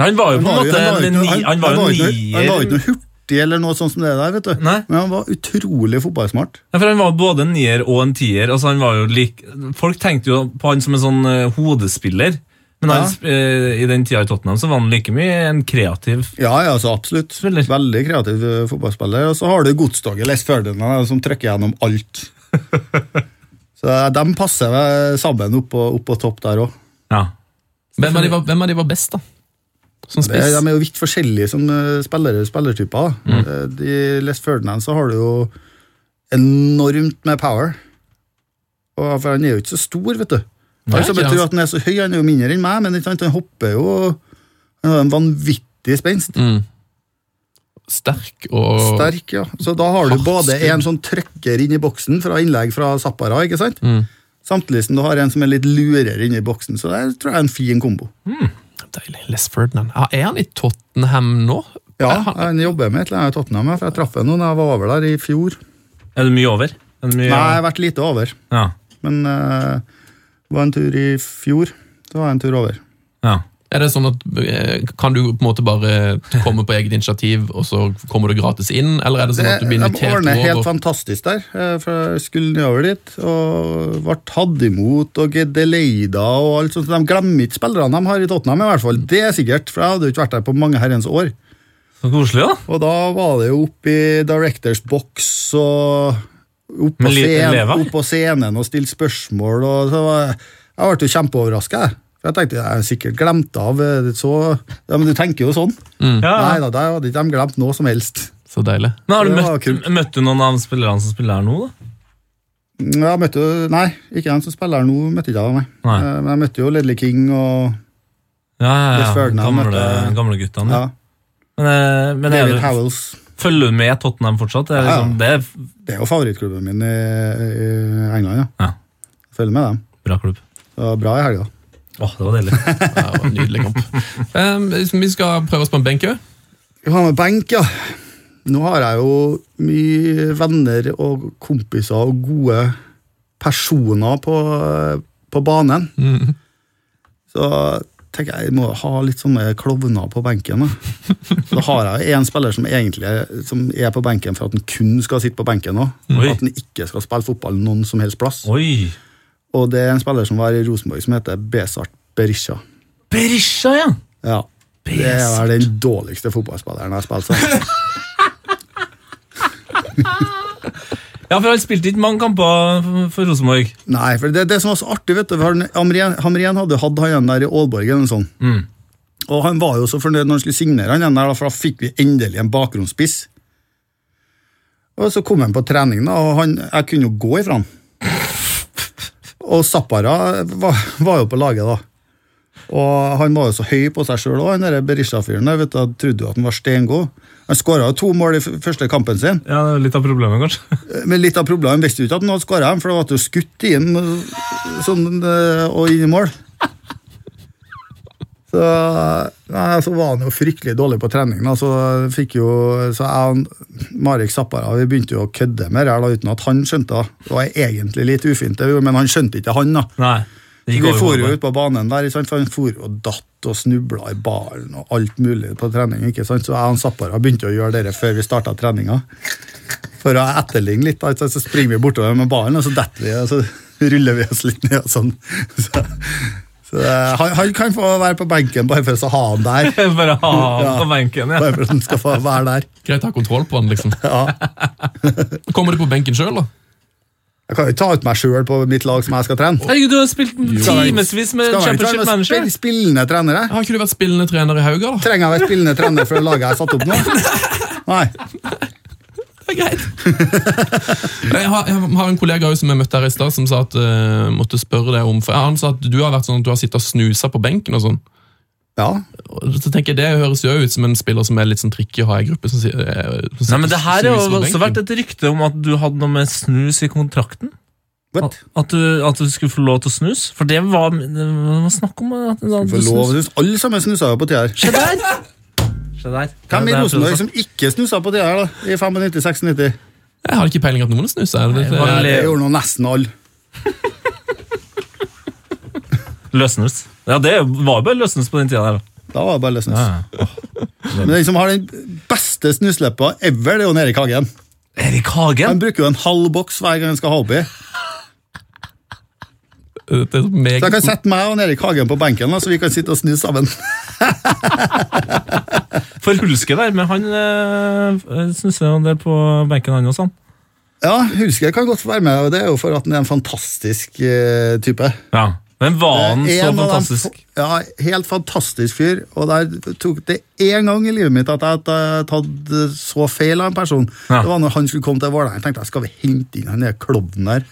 S3: Han var jo på en
S5: var
S3: måte
S5: jo- var jo
S3: en
S5: ikke noe-
S3: ni- Han var jo
S5: ikke noe- han var jo
S3: nier.
S5: ikke noe hurtig eller noe sånt som det der, vet du.
S3: Nei.
S5: Men han var utrolig fotballsmart.
S3: Ja, for Han var både en nier og en tier. Altså han var jo lik, folk tenkte jo på han som en sånn eh, hodespiller. Men han, sp- eh, i den tida i Tottenham så var han like mye en kreativ
S5: Ja, ja, så absolutt.
S3: Spiller.
S5: Veldig kreativ eh, fotballspiller. Og så har du godstoget Les Ferdinand eh, som trykker gjennom alt. så de passer vel sammen opp på, opp på topp der òg.
S3: Ja.
S4: hvem, av de var, hvem av de var best, da? Som
S5: De
S4: spiss?
S5: er jo vidt forskjellige som eh, spillere, spillertyper.
S4: Mm.
S5: da. Eh, I Les Ferdinand så har du jo enormt med power. Og for Han er jo ikke så stor, vet du.
S4: Nei,
S5: Folk som
S4: ikke
S5: tror
S4: han.
S5: at han er så høy, han er jo mindre enn meg, men ikke sant, han hopper jo Han har en vanvittig spenst.
S4: Mm. Sterk og
S5: Sterk, ja. Så da har du
S4: Hardt
S5: både
S4: skudd.
S5: en sånn trøkker inn i boksen fra innlegg fra Zappara, ikke sant?
S4: Mm.
S5: Samtidig som du har en som er litt lurere inn i boksen, så det tror jeg er en fin kombo.
S4: Deilig. Les Ferdinand. Ja, er han i Tottenham nå?
S5: Ja,
S4: Er han,
S5: han jobber med et eller annet i Tottenham, ja, for jeg traff henne da jeg var over der i fjor.
S3: Er det mye over? Er det mye,
S5: Nei, jeg har vært lite over,
S3: Ja.
S5: men eh, det var en tur i fjor, så var jeg en tur over.
S3: ja.
S4: er det sånn at eh, Kan du på en måte bare komme på eget initiativ, og så kommer du gratis inn? Eller er det sånn at du blir
S5: Det- de
S4: invitert
S5: ordner Eh, helt
S4: over?
S5: fantastisk der. eh, For jeg skulle nedover dit og ble tatt imot og gedeleida og alt sånt. så De glemmer ikke spillerne de har i Tottenham, i hvert fall. Det er sikkert, for jeg hadde jo ikke vært der på mange herrens år.
S3: Så koselig, da.
S5: Og da var det jo opp i Directors box og opp på,
S3: Med liten
S5: scenen,
S3: leva?
S5: opp på scenen og stilte spørsmål. Og så var, jeg- jeg ble jo kjempeoverraska. jeg. For jeg tenkte jeg er sikkert glemt av eh, så, ja, Men du tenker jo sånn.
S3: Ja.
S5: Nei da, der hadde ikke de glemt noe som helst.
S4: Så deilig.
S3: Men har du
S5: Det var
S3: møtt, møtt du noen av spillerne som spiller her nå, da?
S5: Ja, Jeg møtte jo, nei, ikke den som spiller her nå, møtte ikke jeg da, nei.
S3: Nei.
S5: Eh, Men jeg møtte jo Ledley King og
S3: Ja, ja,
S5: Hvis
S3: ja.
S5: Ferdinand
S3: Gamle,
S5: møtte-
S3: gamle guttene.
S5: ja,
S3: Ja. Men, eh, men er
S5: David
S3: du,
S5: Howells.
S3: følger du med Tottenham fortsatt? Det er, liksom, det er f-
S5: Det er jo favorittklubben min i, i England, ja.
S3: Ja.
S5: Følger med dem.
S3: bra klubb.
S5: Det var bra i helga.
S3: Åh, det var deilig.
S4: Ja, det var Ehm, en nydelig kamp. Eh, vi skal prøve oss på en benk òg.
S5: Vi har med benk, ja. Nå har jeg jo mye venner og kompiser og gode personer på, på banen.
S3: Mm.
S5: Så tenker jeg jeg må ha litt sånne klovner på benken. Da. Så da har jeg en spiller som egentlig er, som er på benken for at han kun skal sitte på benken nå.
S3: Oi.
S5: At han ikke skal spille fotball noen som helst plass.
S3: Oi!
S5: Og det er en spiller som var i Rosenborg som heter Besart Berisha.
S3: Berisha, ja!
S5: Ja. Det er vel den dårligste fotballspilleren jeg har spilt sammen.
S3: Ja, for han spilte ikke mange kamper for Rosenborg.
S5: Nei, for det, det som var så artig, vet du for han- Hamrén Hamrén hadde hatt han igjen der i Aalborg. eller noe sånt. Og han var jo så fornøyd når han skulle signere han igjen der, da, for da fikk vi endelig en bakgrunnsspiss. Og så kom han på trening, da, og han, jeg kunne jo gå ifra han. Og Zappara var, var jo på laget, da. Og han var jo så høy på seg sjøl òg, han der Berisha-fyren der. vet du, Jeg trodde jo at han var steingod. Han skåra jo to mål i f- første kampen sin.
S3: Ja, det er Litt av problemet, kanskje.
S5: Men litt av problemet visste jo ikke at han hadde skåra dem, for det var at du skutt inn sånn, eh, og inn i mål. Så, nei, så var han jo fryktelig dårlig på trening. Da. Så, fikk jo, så jeg og Marek Zappara vi begynte jo å kødde med det her, da, uten at han skjønte det. Det var egentlig litt ufint, det, vi gjorde, men han skjønte ikke han. da.
S3: Nei. Det
S5: Vi
S3: gikk over
S5: for
S3: hodet.
S5: jo ut på banen der, ikke sant? for han for og datt og snubla i baren og alt mulig på trening. ikke sant? Så jeg og han Zappara begynte å gjøre det før vi starta treninga. For å etterligne litt, da, ikke sant? så springer vi bortover med ballen, og så detter vi, og så ruller vi oss litt ned. og sånn. Så, så eh, han, han kan få være på benken bare for å ha han der.
S3: Bare ha
S5: Ja.
S3: han på benken, ja.
S5: Bare for at han skal få være der.
S4: Greit å ha kontroll på den, liksom.
S5: Ja.
S4: Kommer du på benken sjøl, da?
S5: Jeg kan jo ikke ta ut meg sjøl på mitt lag som jeg skal trene.
S3: Herregud, du har spilt
S5: Skal jeg-
S3: timevis med
S5: Skal jeg ikke
S3: Championship
S5: trene med
S3: Manager.
S5: spill- spillende trenere?
S4: Har ikke du vært spillende trener i Hauga, da?
S5: Trenger jeg å være spillende trener for det laget jeg har satt opp nå?
S4: Det
S5: Nei.
S4: er greit. Jeg har, jeg har en kollega også som jeg møtte her i stad, som sa at eh, måtte spørre deg om for Han sa at du har vært sånn at du har sittet og snusa på benken og sånn.
S5: Ja,
S4: Og Så tenker jeg Det høres jo ut som en spiller som er litt sånn tricky å ha i gruppe. Som, sier- eh, som
S3: Nei, men Det her har
S4: snuser
S3: jo
S4: på
S3: også vært
S4: benken.
S3: et rykte om at du hadde noe med snus i kontrakten.
S5: What?
S3: At, at, du, at du skulle få lov til å snus. For det var, det var snakk om at, at du
S5: For lov,
S3: snus.
S5: synes alle sammen snusa jo på tider.
S3: Se der! Se der.
S5: Hvem
S3: Det er altså- det
S5: i
S3: jeg
S5: Rosenborg
S3: prøvde å
S5: som ikke snusa på tider da, i 95-96?
S4: Jeg har ikke peiling at noen snuser. Er det,
S3: Nei, bare
S4: det,
S5: Det gjorde nå nesten alle.
S3: si. Løssnus. Ja, det var jo bare løssnus på den tida der.
S5: Da var det bare snus.
S3: Ja.
S5: Men den som har den beste snusleppa ever, det er jo Erik Hagen.
S3: Erik Hagen!
S5: Han bruker jo en halv boks hver gang han skal ha oppi.
S4: det, det er
S5: Så jeg
S4: meget
S5: kan sette meg og Erik Hagen på benken, da, så vi kan sitte og snu sammen.
S3: For Hulske der, men han eh, snuser jo en del på benken, han også. han.
S5: Ja, Hulsker kan godt være med, og det er jo for at han er en fantastisk eh, type.
S3: Ja. Men var han
S5: Eh,
S3: så
S5: en av dem-
S3: fantastisk?
S5: Ja, helt fantastisk fyr. Og der tok det én gang i livet mitt at jeg hadde tatt eh, så feil av en person.
S3: Ja.
S5: Det var når han skulle komme til Vålerenga. Jeg tenkte jeg skal vi hente inn han der klovnen der.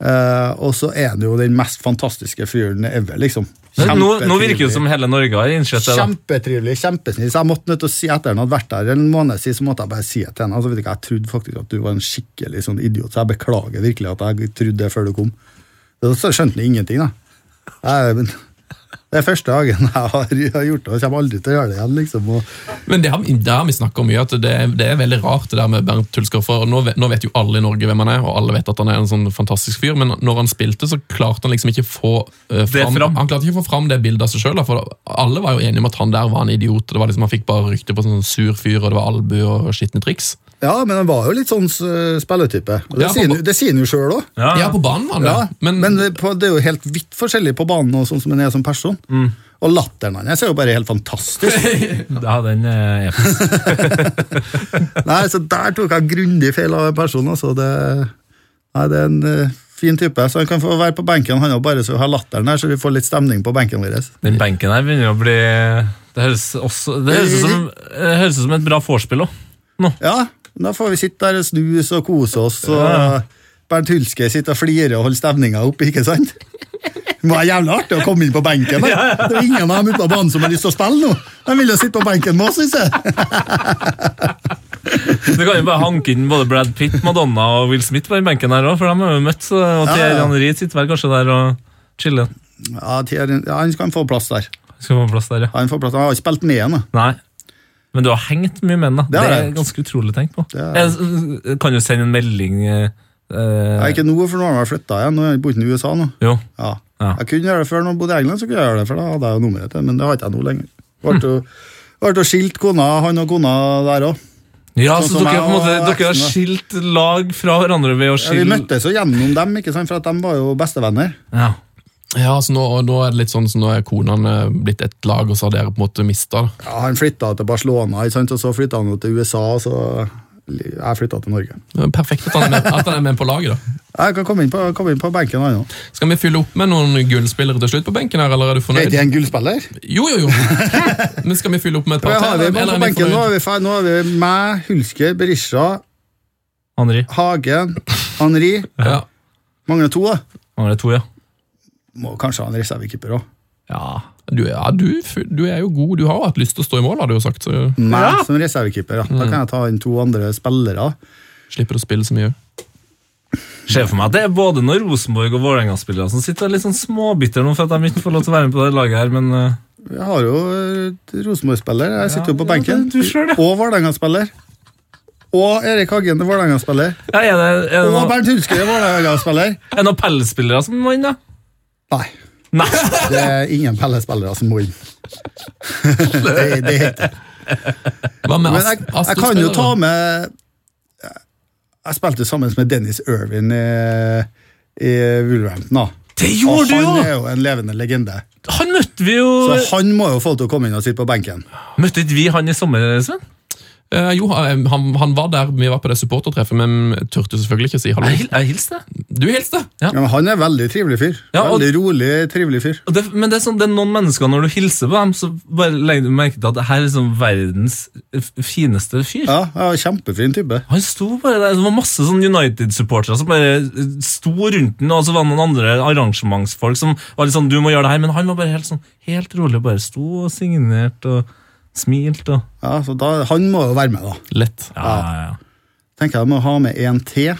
S5: Eh, og så er han jo den mest fantastiske fyren ever, liksom.
S3: Nå, nå virker det jo som hele Norge har innsett det. da.
S5: Kjempetrivelig, kjempesnill. Så jeg måtte nødt til å si etter han hadde vært der en måned siden, så måtte jeg bare si det til henne. Altså, vet du hva, jeg trodde faktisk at du var en skikkelig sånn idiot, så jeg beklager virkelig at jeg trodde det før du kom. Så skjønte han ingenting, da. Jeg, men, det er første dagen jeg har, jeg har gjort det, og jeg kommer aldri til å gjøre det igjen, liksom. Og,
S4: Men det har, vi- det har vi snakka mye, at det, er- det er veldig rart det der med Bernt Tulsker. For nå vet, nå vet jo alle i Norge hvem han er, og alle vet at han er en sånn fantastisk fyr, men når han spilte, så klarte han liksom ikke få eh, fram,
S3: fram.
S4: Han klarte ikke å få fram det bildet av seg sjøl. For alle var jo enige om at han der var en idiot. og det var liksom, Han fikk bare rykte på sånn sur fyr, og det var albu og skitne triks.
S5: ja, men han var jo litt sånn eh, spilletype. Og det,
S4: Ja, for-
S5: sier han jo- det sier han jo sjøl òg.
S4: Ja, på banen var han det.
S5: Ja, men
S4: men,
S5: det, på, det er jo helt vidt forskjellig på banen og sånn som han er som person. Og latteren hans er jo bare helt fantastisk.
S3: Ja, den eh, er episk.
S5: Nei, så der tok jeg grundig feil av en person, altså. Det, nei, det er en eh, fin type. Så han kan få være på benken, han òg, bare så vi har latteren her, så vi får litt stemning på benken vår.
S3: Den benken her begynner å bli Det høres, også, det høres, ut, som, det høres ut som et bra vorspiel òg.
S5: Ja, da får vi sitte der og snuse og kose oss, og Bernt Hulske sitter og flirer og holder stemninga oppe, ikke sant? Det var jævlig artig å komme inn på benken. Da. Det er ingen av dem ute på banen som har lyst til å spille nå. De vil jo sitte på benken med oss, syns jeg.
S3: Du kan jo bare hanke inn både Brad Pitt, Madonna og Will Smith på den benken her òg, for dem har vi jo møtt. så- Og
S5: Ja,
S3: Thierry
S5: ja.
S3: Henry sitter vel kanskje der og chiller.
S5: Ja, Thierry- ja, han skal få plass der.
S3: Skal få plass der, ja.
S5: Han, får plass. han har ikke spilt med igjen, da.
S3: Nei. Men du har hengt mye menn, da.
S5: Det
S3: Det,
S5: har
S3: er
S5: jeg.
S3: ganske utrolig å tenke på.
S5: Det er-
S3: Jeg s- kan jo sende en melding eh, eh,
S5: Nei, ikke nå, for nå har jeg flytta igjen. Nå er jeg borte i USA nå.
S3: Jo.
S5: Ja.
S3: Ja.
S5: Jeg kunne gjøre det før når jeg bodde i England, så kunne jeg gjøre det, for da hadde jeg jo nummeret til, men det har ikke jeg nå lenger. Ble jo- ble jo skilt kona, han og kona der òg.
S3: Ja, så
S5: Sånn som
S3: dere,
S5: jeg
S3: har på en måte,
S5: og
S3: dere har
S5: eksen, da.
S3: skilt lag fra hverandre ved å
S5: Ja, vi
S3: skille
S5: møttes jo gjennom dem, ikke sant? for at de var jo bestevenner.
S3: Ja.
S4: Ja, så nå, og nå er det litt sånn, så nå er konene blitt et lag, og så har dere på en måte mista det.
S5: Ja, han flytta til Barcelona, ikke sant? og så flytta han jo til USA, og så jeg flytta til Norge.
S4: Det er Perfekt at han er med, at han er med på laget, da.
S5: Jeg kan komme inn på, komme inn på benken han òg.
S4: Skal vi fylle opp med noen gullspillere til slutt på benken her, eller er du
S5: Er
S4: fornøyd?
S5: ikke en gullspiller?
S4: Jo, jo, jo. Men skal vi fylle opp med et
S5: Ja,
S4: par
S5: har vi
S4: til?
S5: på
S4: eller er vi
S5: benken, nå
S4: fornøyd?
S5: er vi ferdig. Nå er vi meg, Hulsker, Berisha,
S3: Henri.
S5: Hagen, Henri.
S4: Ja.
S5: Mangler to, da.
S3: Henri to, ja.
S5: Må kanskje ha en reservekeeper òg.
S3: Ja.
S4: Du, ja, du, f- du er jo god. Du har jo hatt lyst til å stå i mål, har du jo sagt, så
S5: Meg som reservekeeper, da. Da kan jeg ta inn to andre spillere.
S4: slipper du å spille så mye.
S3: Ser for meg at det er både når Rosenborg og Vålerenga-spillere som sitter litt sånn småbitter nå for at de ikke får lov til å være med på det laget her, men eh,
S5: Jeg har jo eh, Rosenborg-spiller. Jeg sitter jo på
S3: ja,
S5: benken.
S3: det- du ser det.
S5: og Vålerenga-spiller. Og Erik Hagen er Vålerenga-spiller.
S3: ja, Er det, er det
S5: Og
S3: noen
S5: Bernt Hulsker er Vålerenga-spiller.
S3: er det noen pellespillere som må inn, da?
S5: Nei,
S3: Nei!
S5: det er ingen Pelle-spillere som må inn. det, det er helt
S4: Hva med
S5: Men
S4: Ast-
S5: jeg, jeg
S4: Astrid
S5: kan jo
S4: spiller,
S5: ta
S4: da?
S5: med Jeg spilte sammen med Dennis Irvin i, i Wolverhampton. da.
S3: Det gjorde du
S5: og
S3: jo!
S5: han er jo en levende legende.
S3: Han møtte vi jo
S5: Så han må jo få lov til å komme inn og sitte på benken.
S3: Møtte ikke vi han i sommer, Sven?
S4: Eh, jo, han, han- han var der vi var på det supportertreffet, men turte selvfølgelig ikke si hallo.
S3: Jeg, hil- jeg hilste.
S4: Du hilste!
S5: Ja, men han er en veldig trivelig fyr.
S3: Ja, og-
S5: Veldig rolig, trivelig fyr.
S3: Og Det, men det er, sånn, det er noen mennesker, når du hilser på dem, så bare legger du merke til at det her er liksom verdens f- fineste fyr.
S5: Ja, ja, Kjempefin type.
S3: Han sto bare der, Det var masse sånn United-supportere som bare eh, sto rundt den, og så var det noen andre arrangementsfolk som var litt sånn 'du må gjøre det her', men han var bare helt sånn helt rolig og bare sto og signerte og smilte og
S5: Ja, så da, Han må jo være med, da.
S4: Lett.
S3: Ja, ja, ja.
S5: Tenker jeg må ha med en til.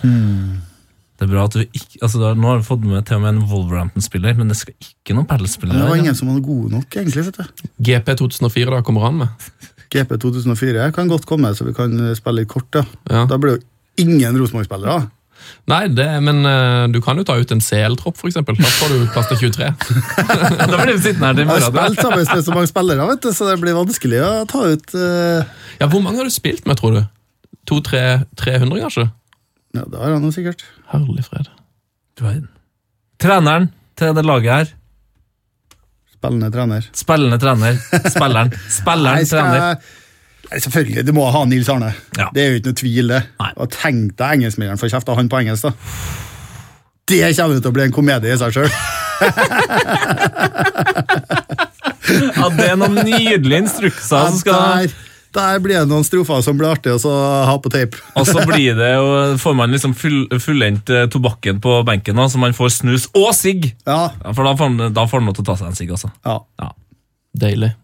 S3: Det er bra at du ikke altså da, Nå har du fått med til og med en Wolverhampton-spiller, men det skal ikke noen
S5: Det var
S3: Pelle-spillere.
S5: ingen som var gode nok, egentlig. vet du.
S4: GP 2004, da kommer han med.
S5: GP 2004 kan godt komme, så vi kan spille litt kort. Da,
S4: Ja.
S5: da blir det jo ingen Rosenborg-spillere. da.
S4: Nei, det, men eh, du kan jo ta ut en CL-tropp, for eksempel. Da får du plass til 23.
S3: Da blir vi sittende her til i
S5: Jeg har
S3: morgen. da.
S5: spilt sammen med så mange spillere, vet du, så det blir vanskelig å ta ut eh,
S4: Ja, Hvor mange har du spilt med, tror du? To, tre, 300, kanskje?
S5: Ja, det har han jo sikkert.
S4: Herlig fred.
S3: Du verden. Treneren til det laget her.
S5: Spillende trener.
S3: Spillende trener. Spilleren. Spilleren
S5: Nei,
S3: trener.
S5: skal... Nei, Selvfølgelig, du må ha Nils Arne.
S3: Ja.
S5: Det er jo ikke noe tvil, det.
S3: Nei.
S5: Og tenk deg engelskmennene får kjeft av han på engelsk, da. Det kommer til å bli en komedie i seg sjøl.
S3: Ja, det er noen nydelige instrukser som skal
S5: Der, der blir det noen strofer som blir artig å så ha på tape.
S3: Og så blir det jo Får man liksom full, fullendt eh, tobakken på benken, da, så man får snus og sigg!
S5: Ja,
S3: Ja, for da får man- da får man lov til å ta seg en sigg, altså.
S5: ja.
S3: Ja.
S4: Deilig.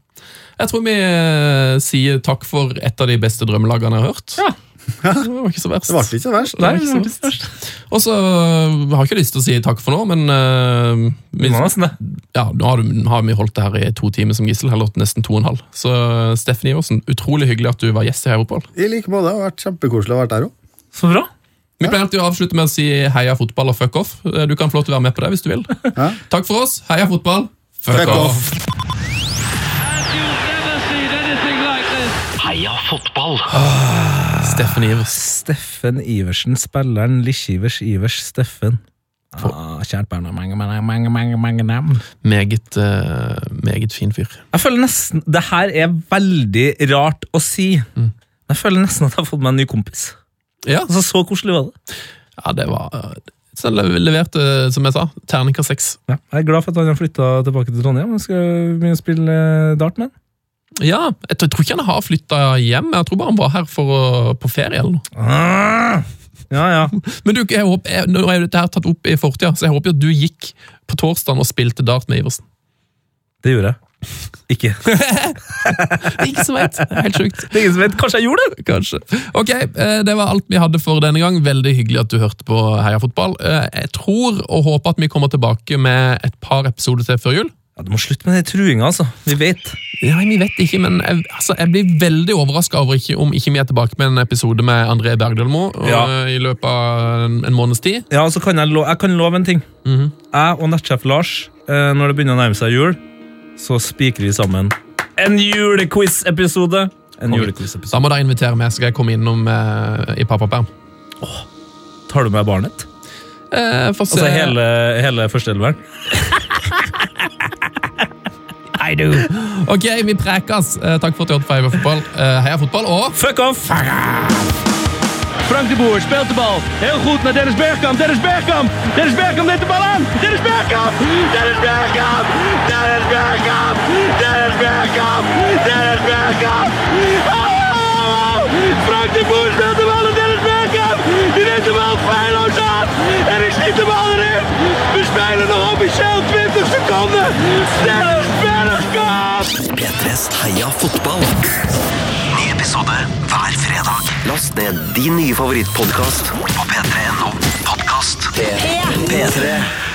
S4: Jeg tror vi eh, sier takk for et av de beste drømmelagene jeg har hørt.
S3: Ja.
S4: Det var ikke så verst.
S5: Det ble ikke så verst.
S3: Nei,
S4: ikke så
S3: det var ikke
S4: Og så eh, har jeg ikke lyst til å si takk for nå, men eh, vi,
S3: Det var nesten det.
S4: ja, nå har, du, har vi holdt det her i to timer som gissel, eller nesten to og en halv. Så eh, Steffen Iversen, utrolig hyggelig at du var gjest i Heiropphold.
S5: I like måte. Det har vært kjempekoselig å være der òg.
S3: Så bra.
S4: Vi pleier alltid å avslutte med å si heia fotball og fuck off. Eh, Du kan få lov til å være med på det hvis du vil. Takk for oss, heia fotball, fuck,
S5: Fuck off.
S4: off.
S2: You've never seen anything like this.
S1: Heia fotball!
S4: Steffen Ivers.
S3: Steffen Iversen, spilleren Lisjivers Ivers Steffen. Ah, kjært barn av mange, mange, mange, mange, mange navn.
S4: Meget, eh, meget fin fyr.
S3: Jeg føler nesten Det her er veldig rart å si. Men Jeg føler nesten at jeg har fått meg en ny kompis.
S4: Ja,
S3: Mm. Altså, Så koselig var det.
S4: ja det var eh, Så le- leverte, eh, som jeg sa, terningkast seks.
S3: Jeg er glad for at han har flytta tilbake til Trondheim. Jeg skal begynne å spille eh, dart med han.
S4: Ja, jeg tror jeg tror ikke han har flytta hjem. Jeg tror bare han var her for å, på ferie. eller noe.
S3: Ah! Ja, ja.
S4: Men du, jeg håper, jeg, nå er jo dette her tatt opp i fortida, så jeg håper jo at du gikk på torsdagen og spilte dart med Iversen.
S3: Det gjorde jeg. Ikke. Det
S4: Det er Ikke så veit. Helt sjukt.
S3: er ingen som vet. Kanskje jeg gjorde det?
S4: Kanskje. Ok, eh, Det var alt vi hadde for denne gang. Veldig hyggelig at du hørte på Heia fotball. Eh, Jeg tror og håper at vi kommer tilbake med et par episoder til før jul.
S3: Ja, Du må slutte med den truinga, altså. Vi vet.
S4: Ja, vi vet ikke, men jeg, altså, jeg blir veldig overraska over ikke, om ikke vi er tilbake med en episode med André Bergdølmo og, eh,
S3: Ja.
S4: i løpet av en, en måneds tid.
S3: Ja, så kan jeg, lo jeg kan love en ting. Jeg og nettsjef Lars, eh, når det begynner å nærme seg jul, så spikrer vi sammen en julequiz-episode. En
S4: Da
S3: julequiz-episode.
S4: må dere invitere meg, så skal jeg komme innom eh, i pappaperm.
S3: Tar du med barnet?
S4: Eh, få se.
S3: Altså hele, hele førsteelveren?
S4: I do. Ok, vi prekes. Eh, takk for at du hørte på Heia fotball. Eh, heia fotball og
S3: Fuck off!
S2: Frank de Boer speelt de bal. Heel goed naar Dennis Bergkamp. Dennis Bergkamp. Dennis Bergkamp neemt de bal aan. Dennis Bergkamp. Dennis Bergkamp. Dennis Bergkamp. Dennis Bergkamp. Dennis Bergkamp. Oh! Frank de Boer speelt de bal aan Dennis Bergkamp. Die neemt de bal feilloos aan. En is niet de bal erin. We spelen nog officieel 20 seconden. Dennis Bergkamp.
S1: P3s Heia fotball. Ny episode hver fredag. Last ned din nye favorittpodkast på p3.no podkast. P3.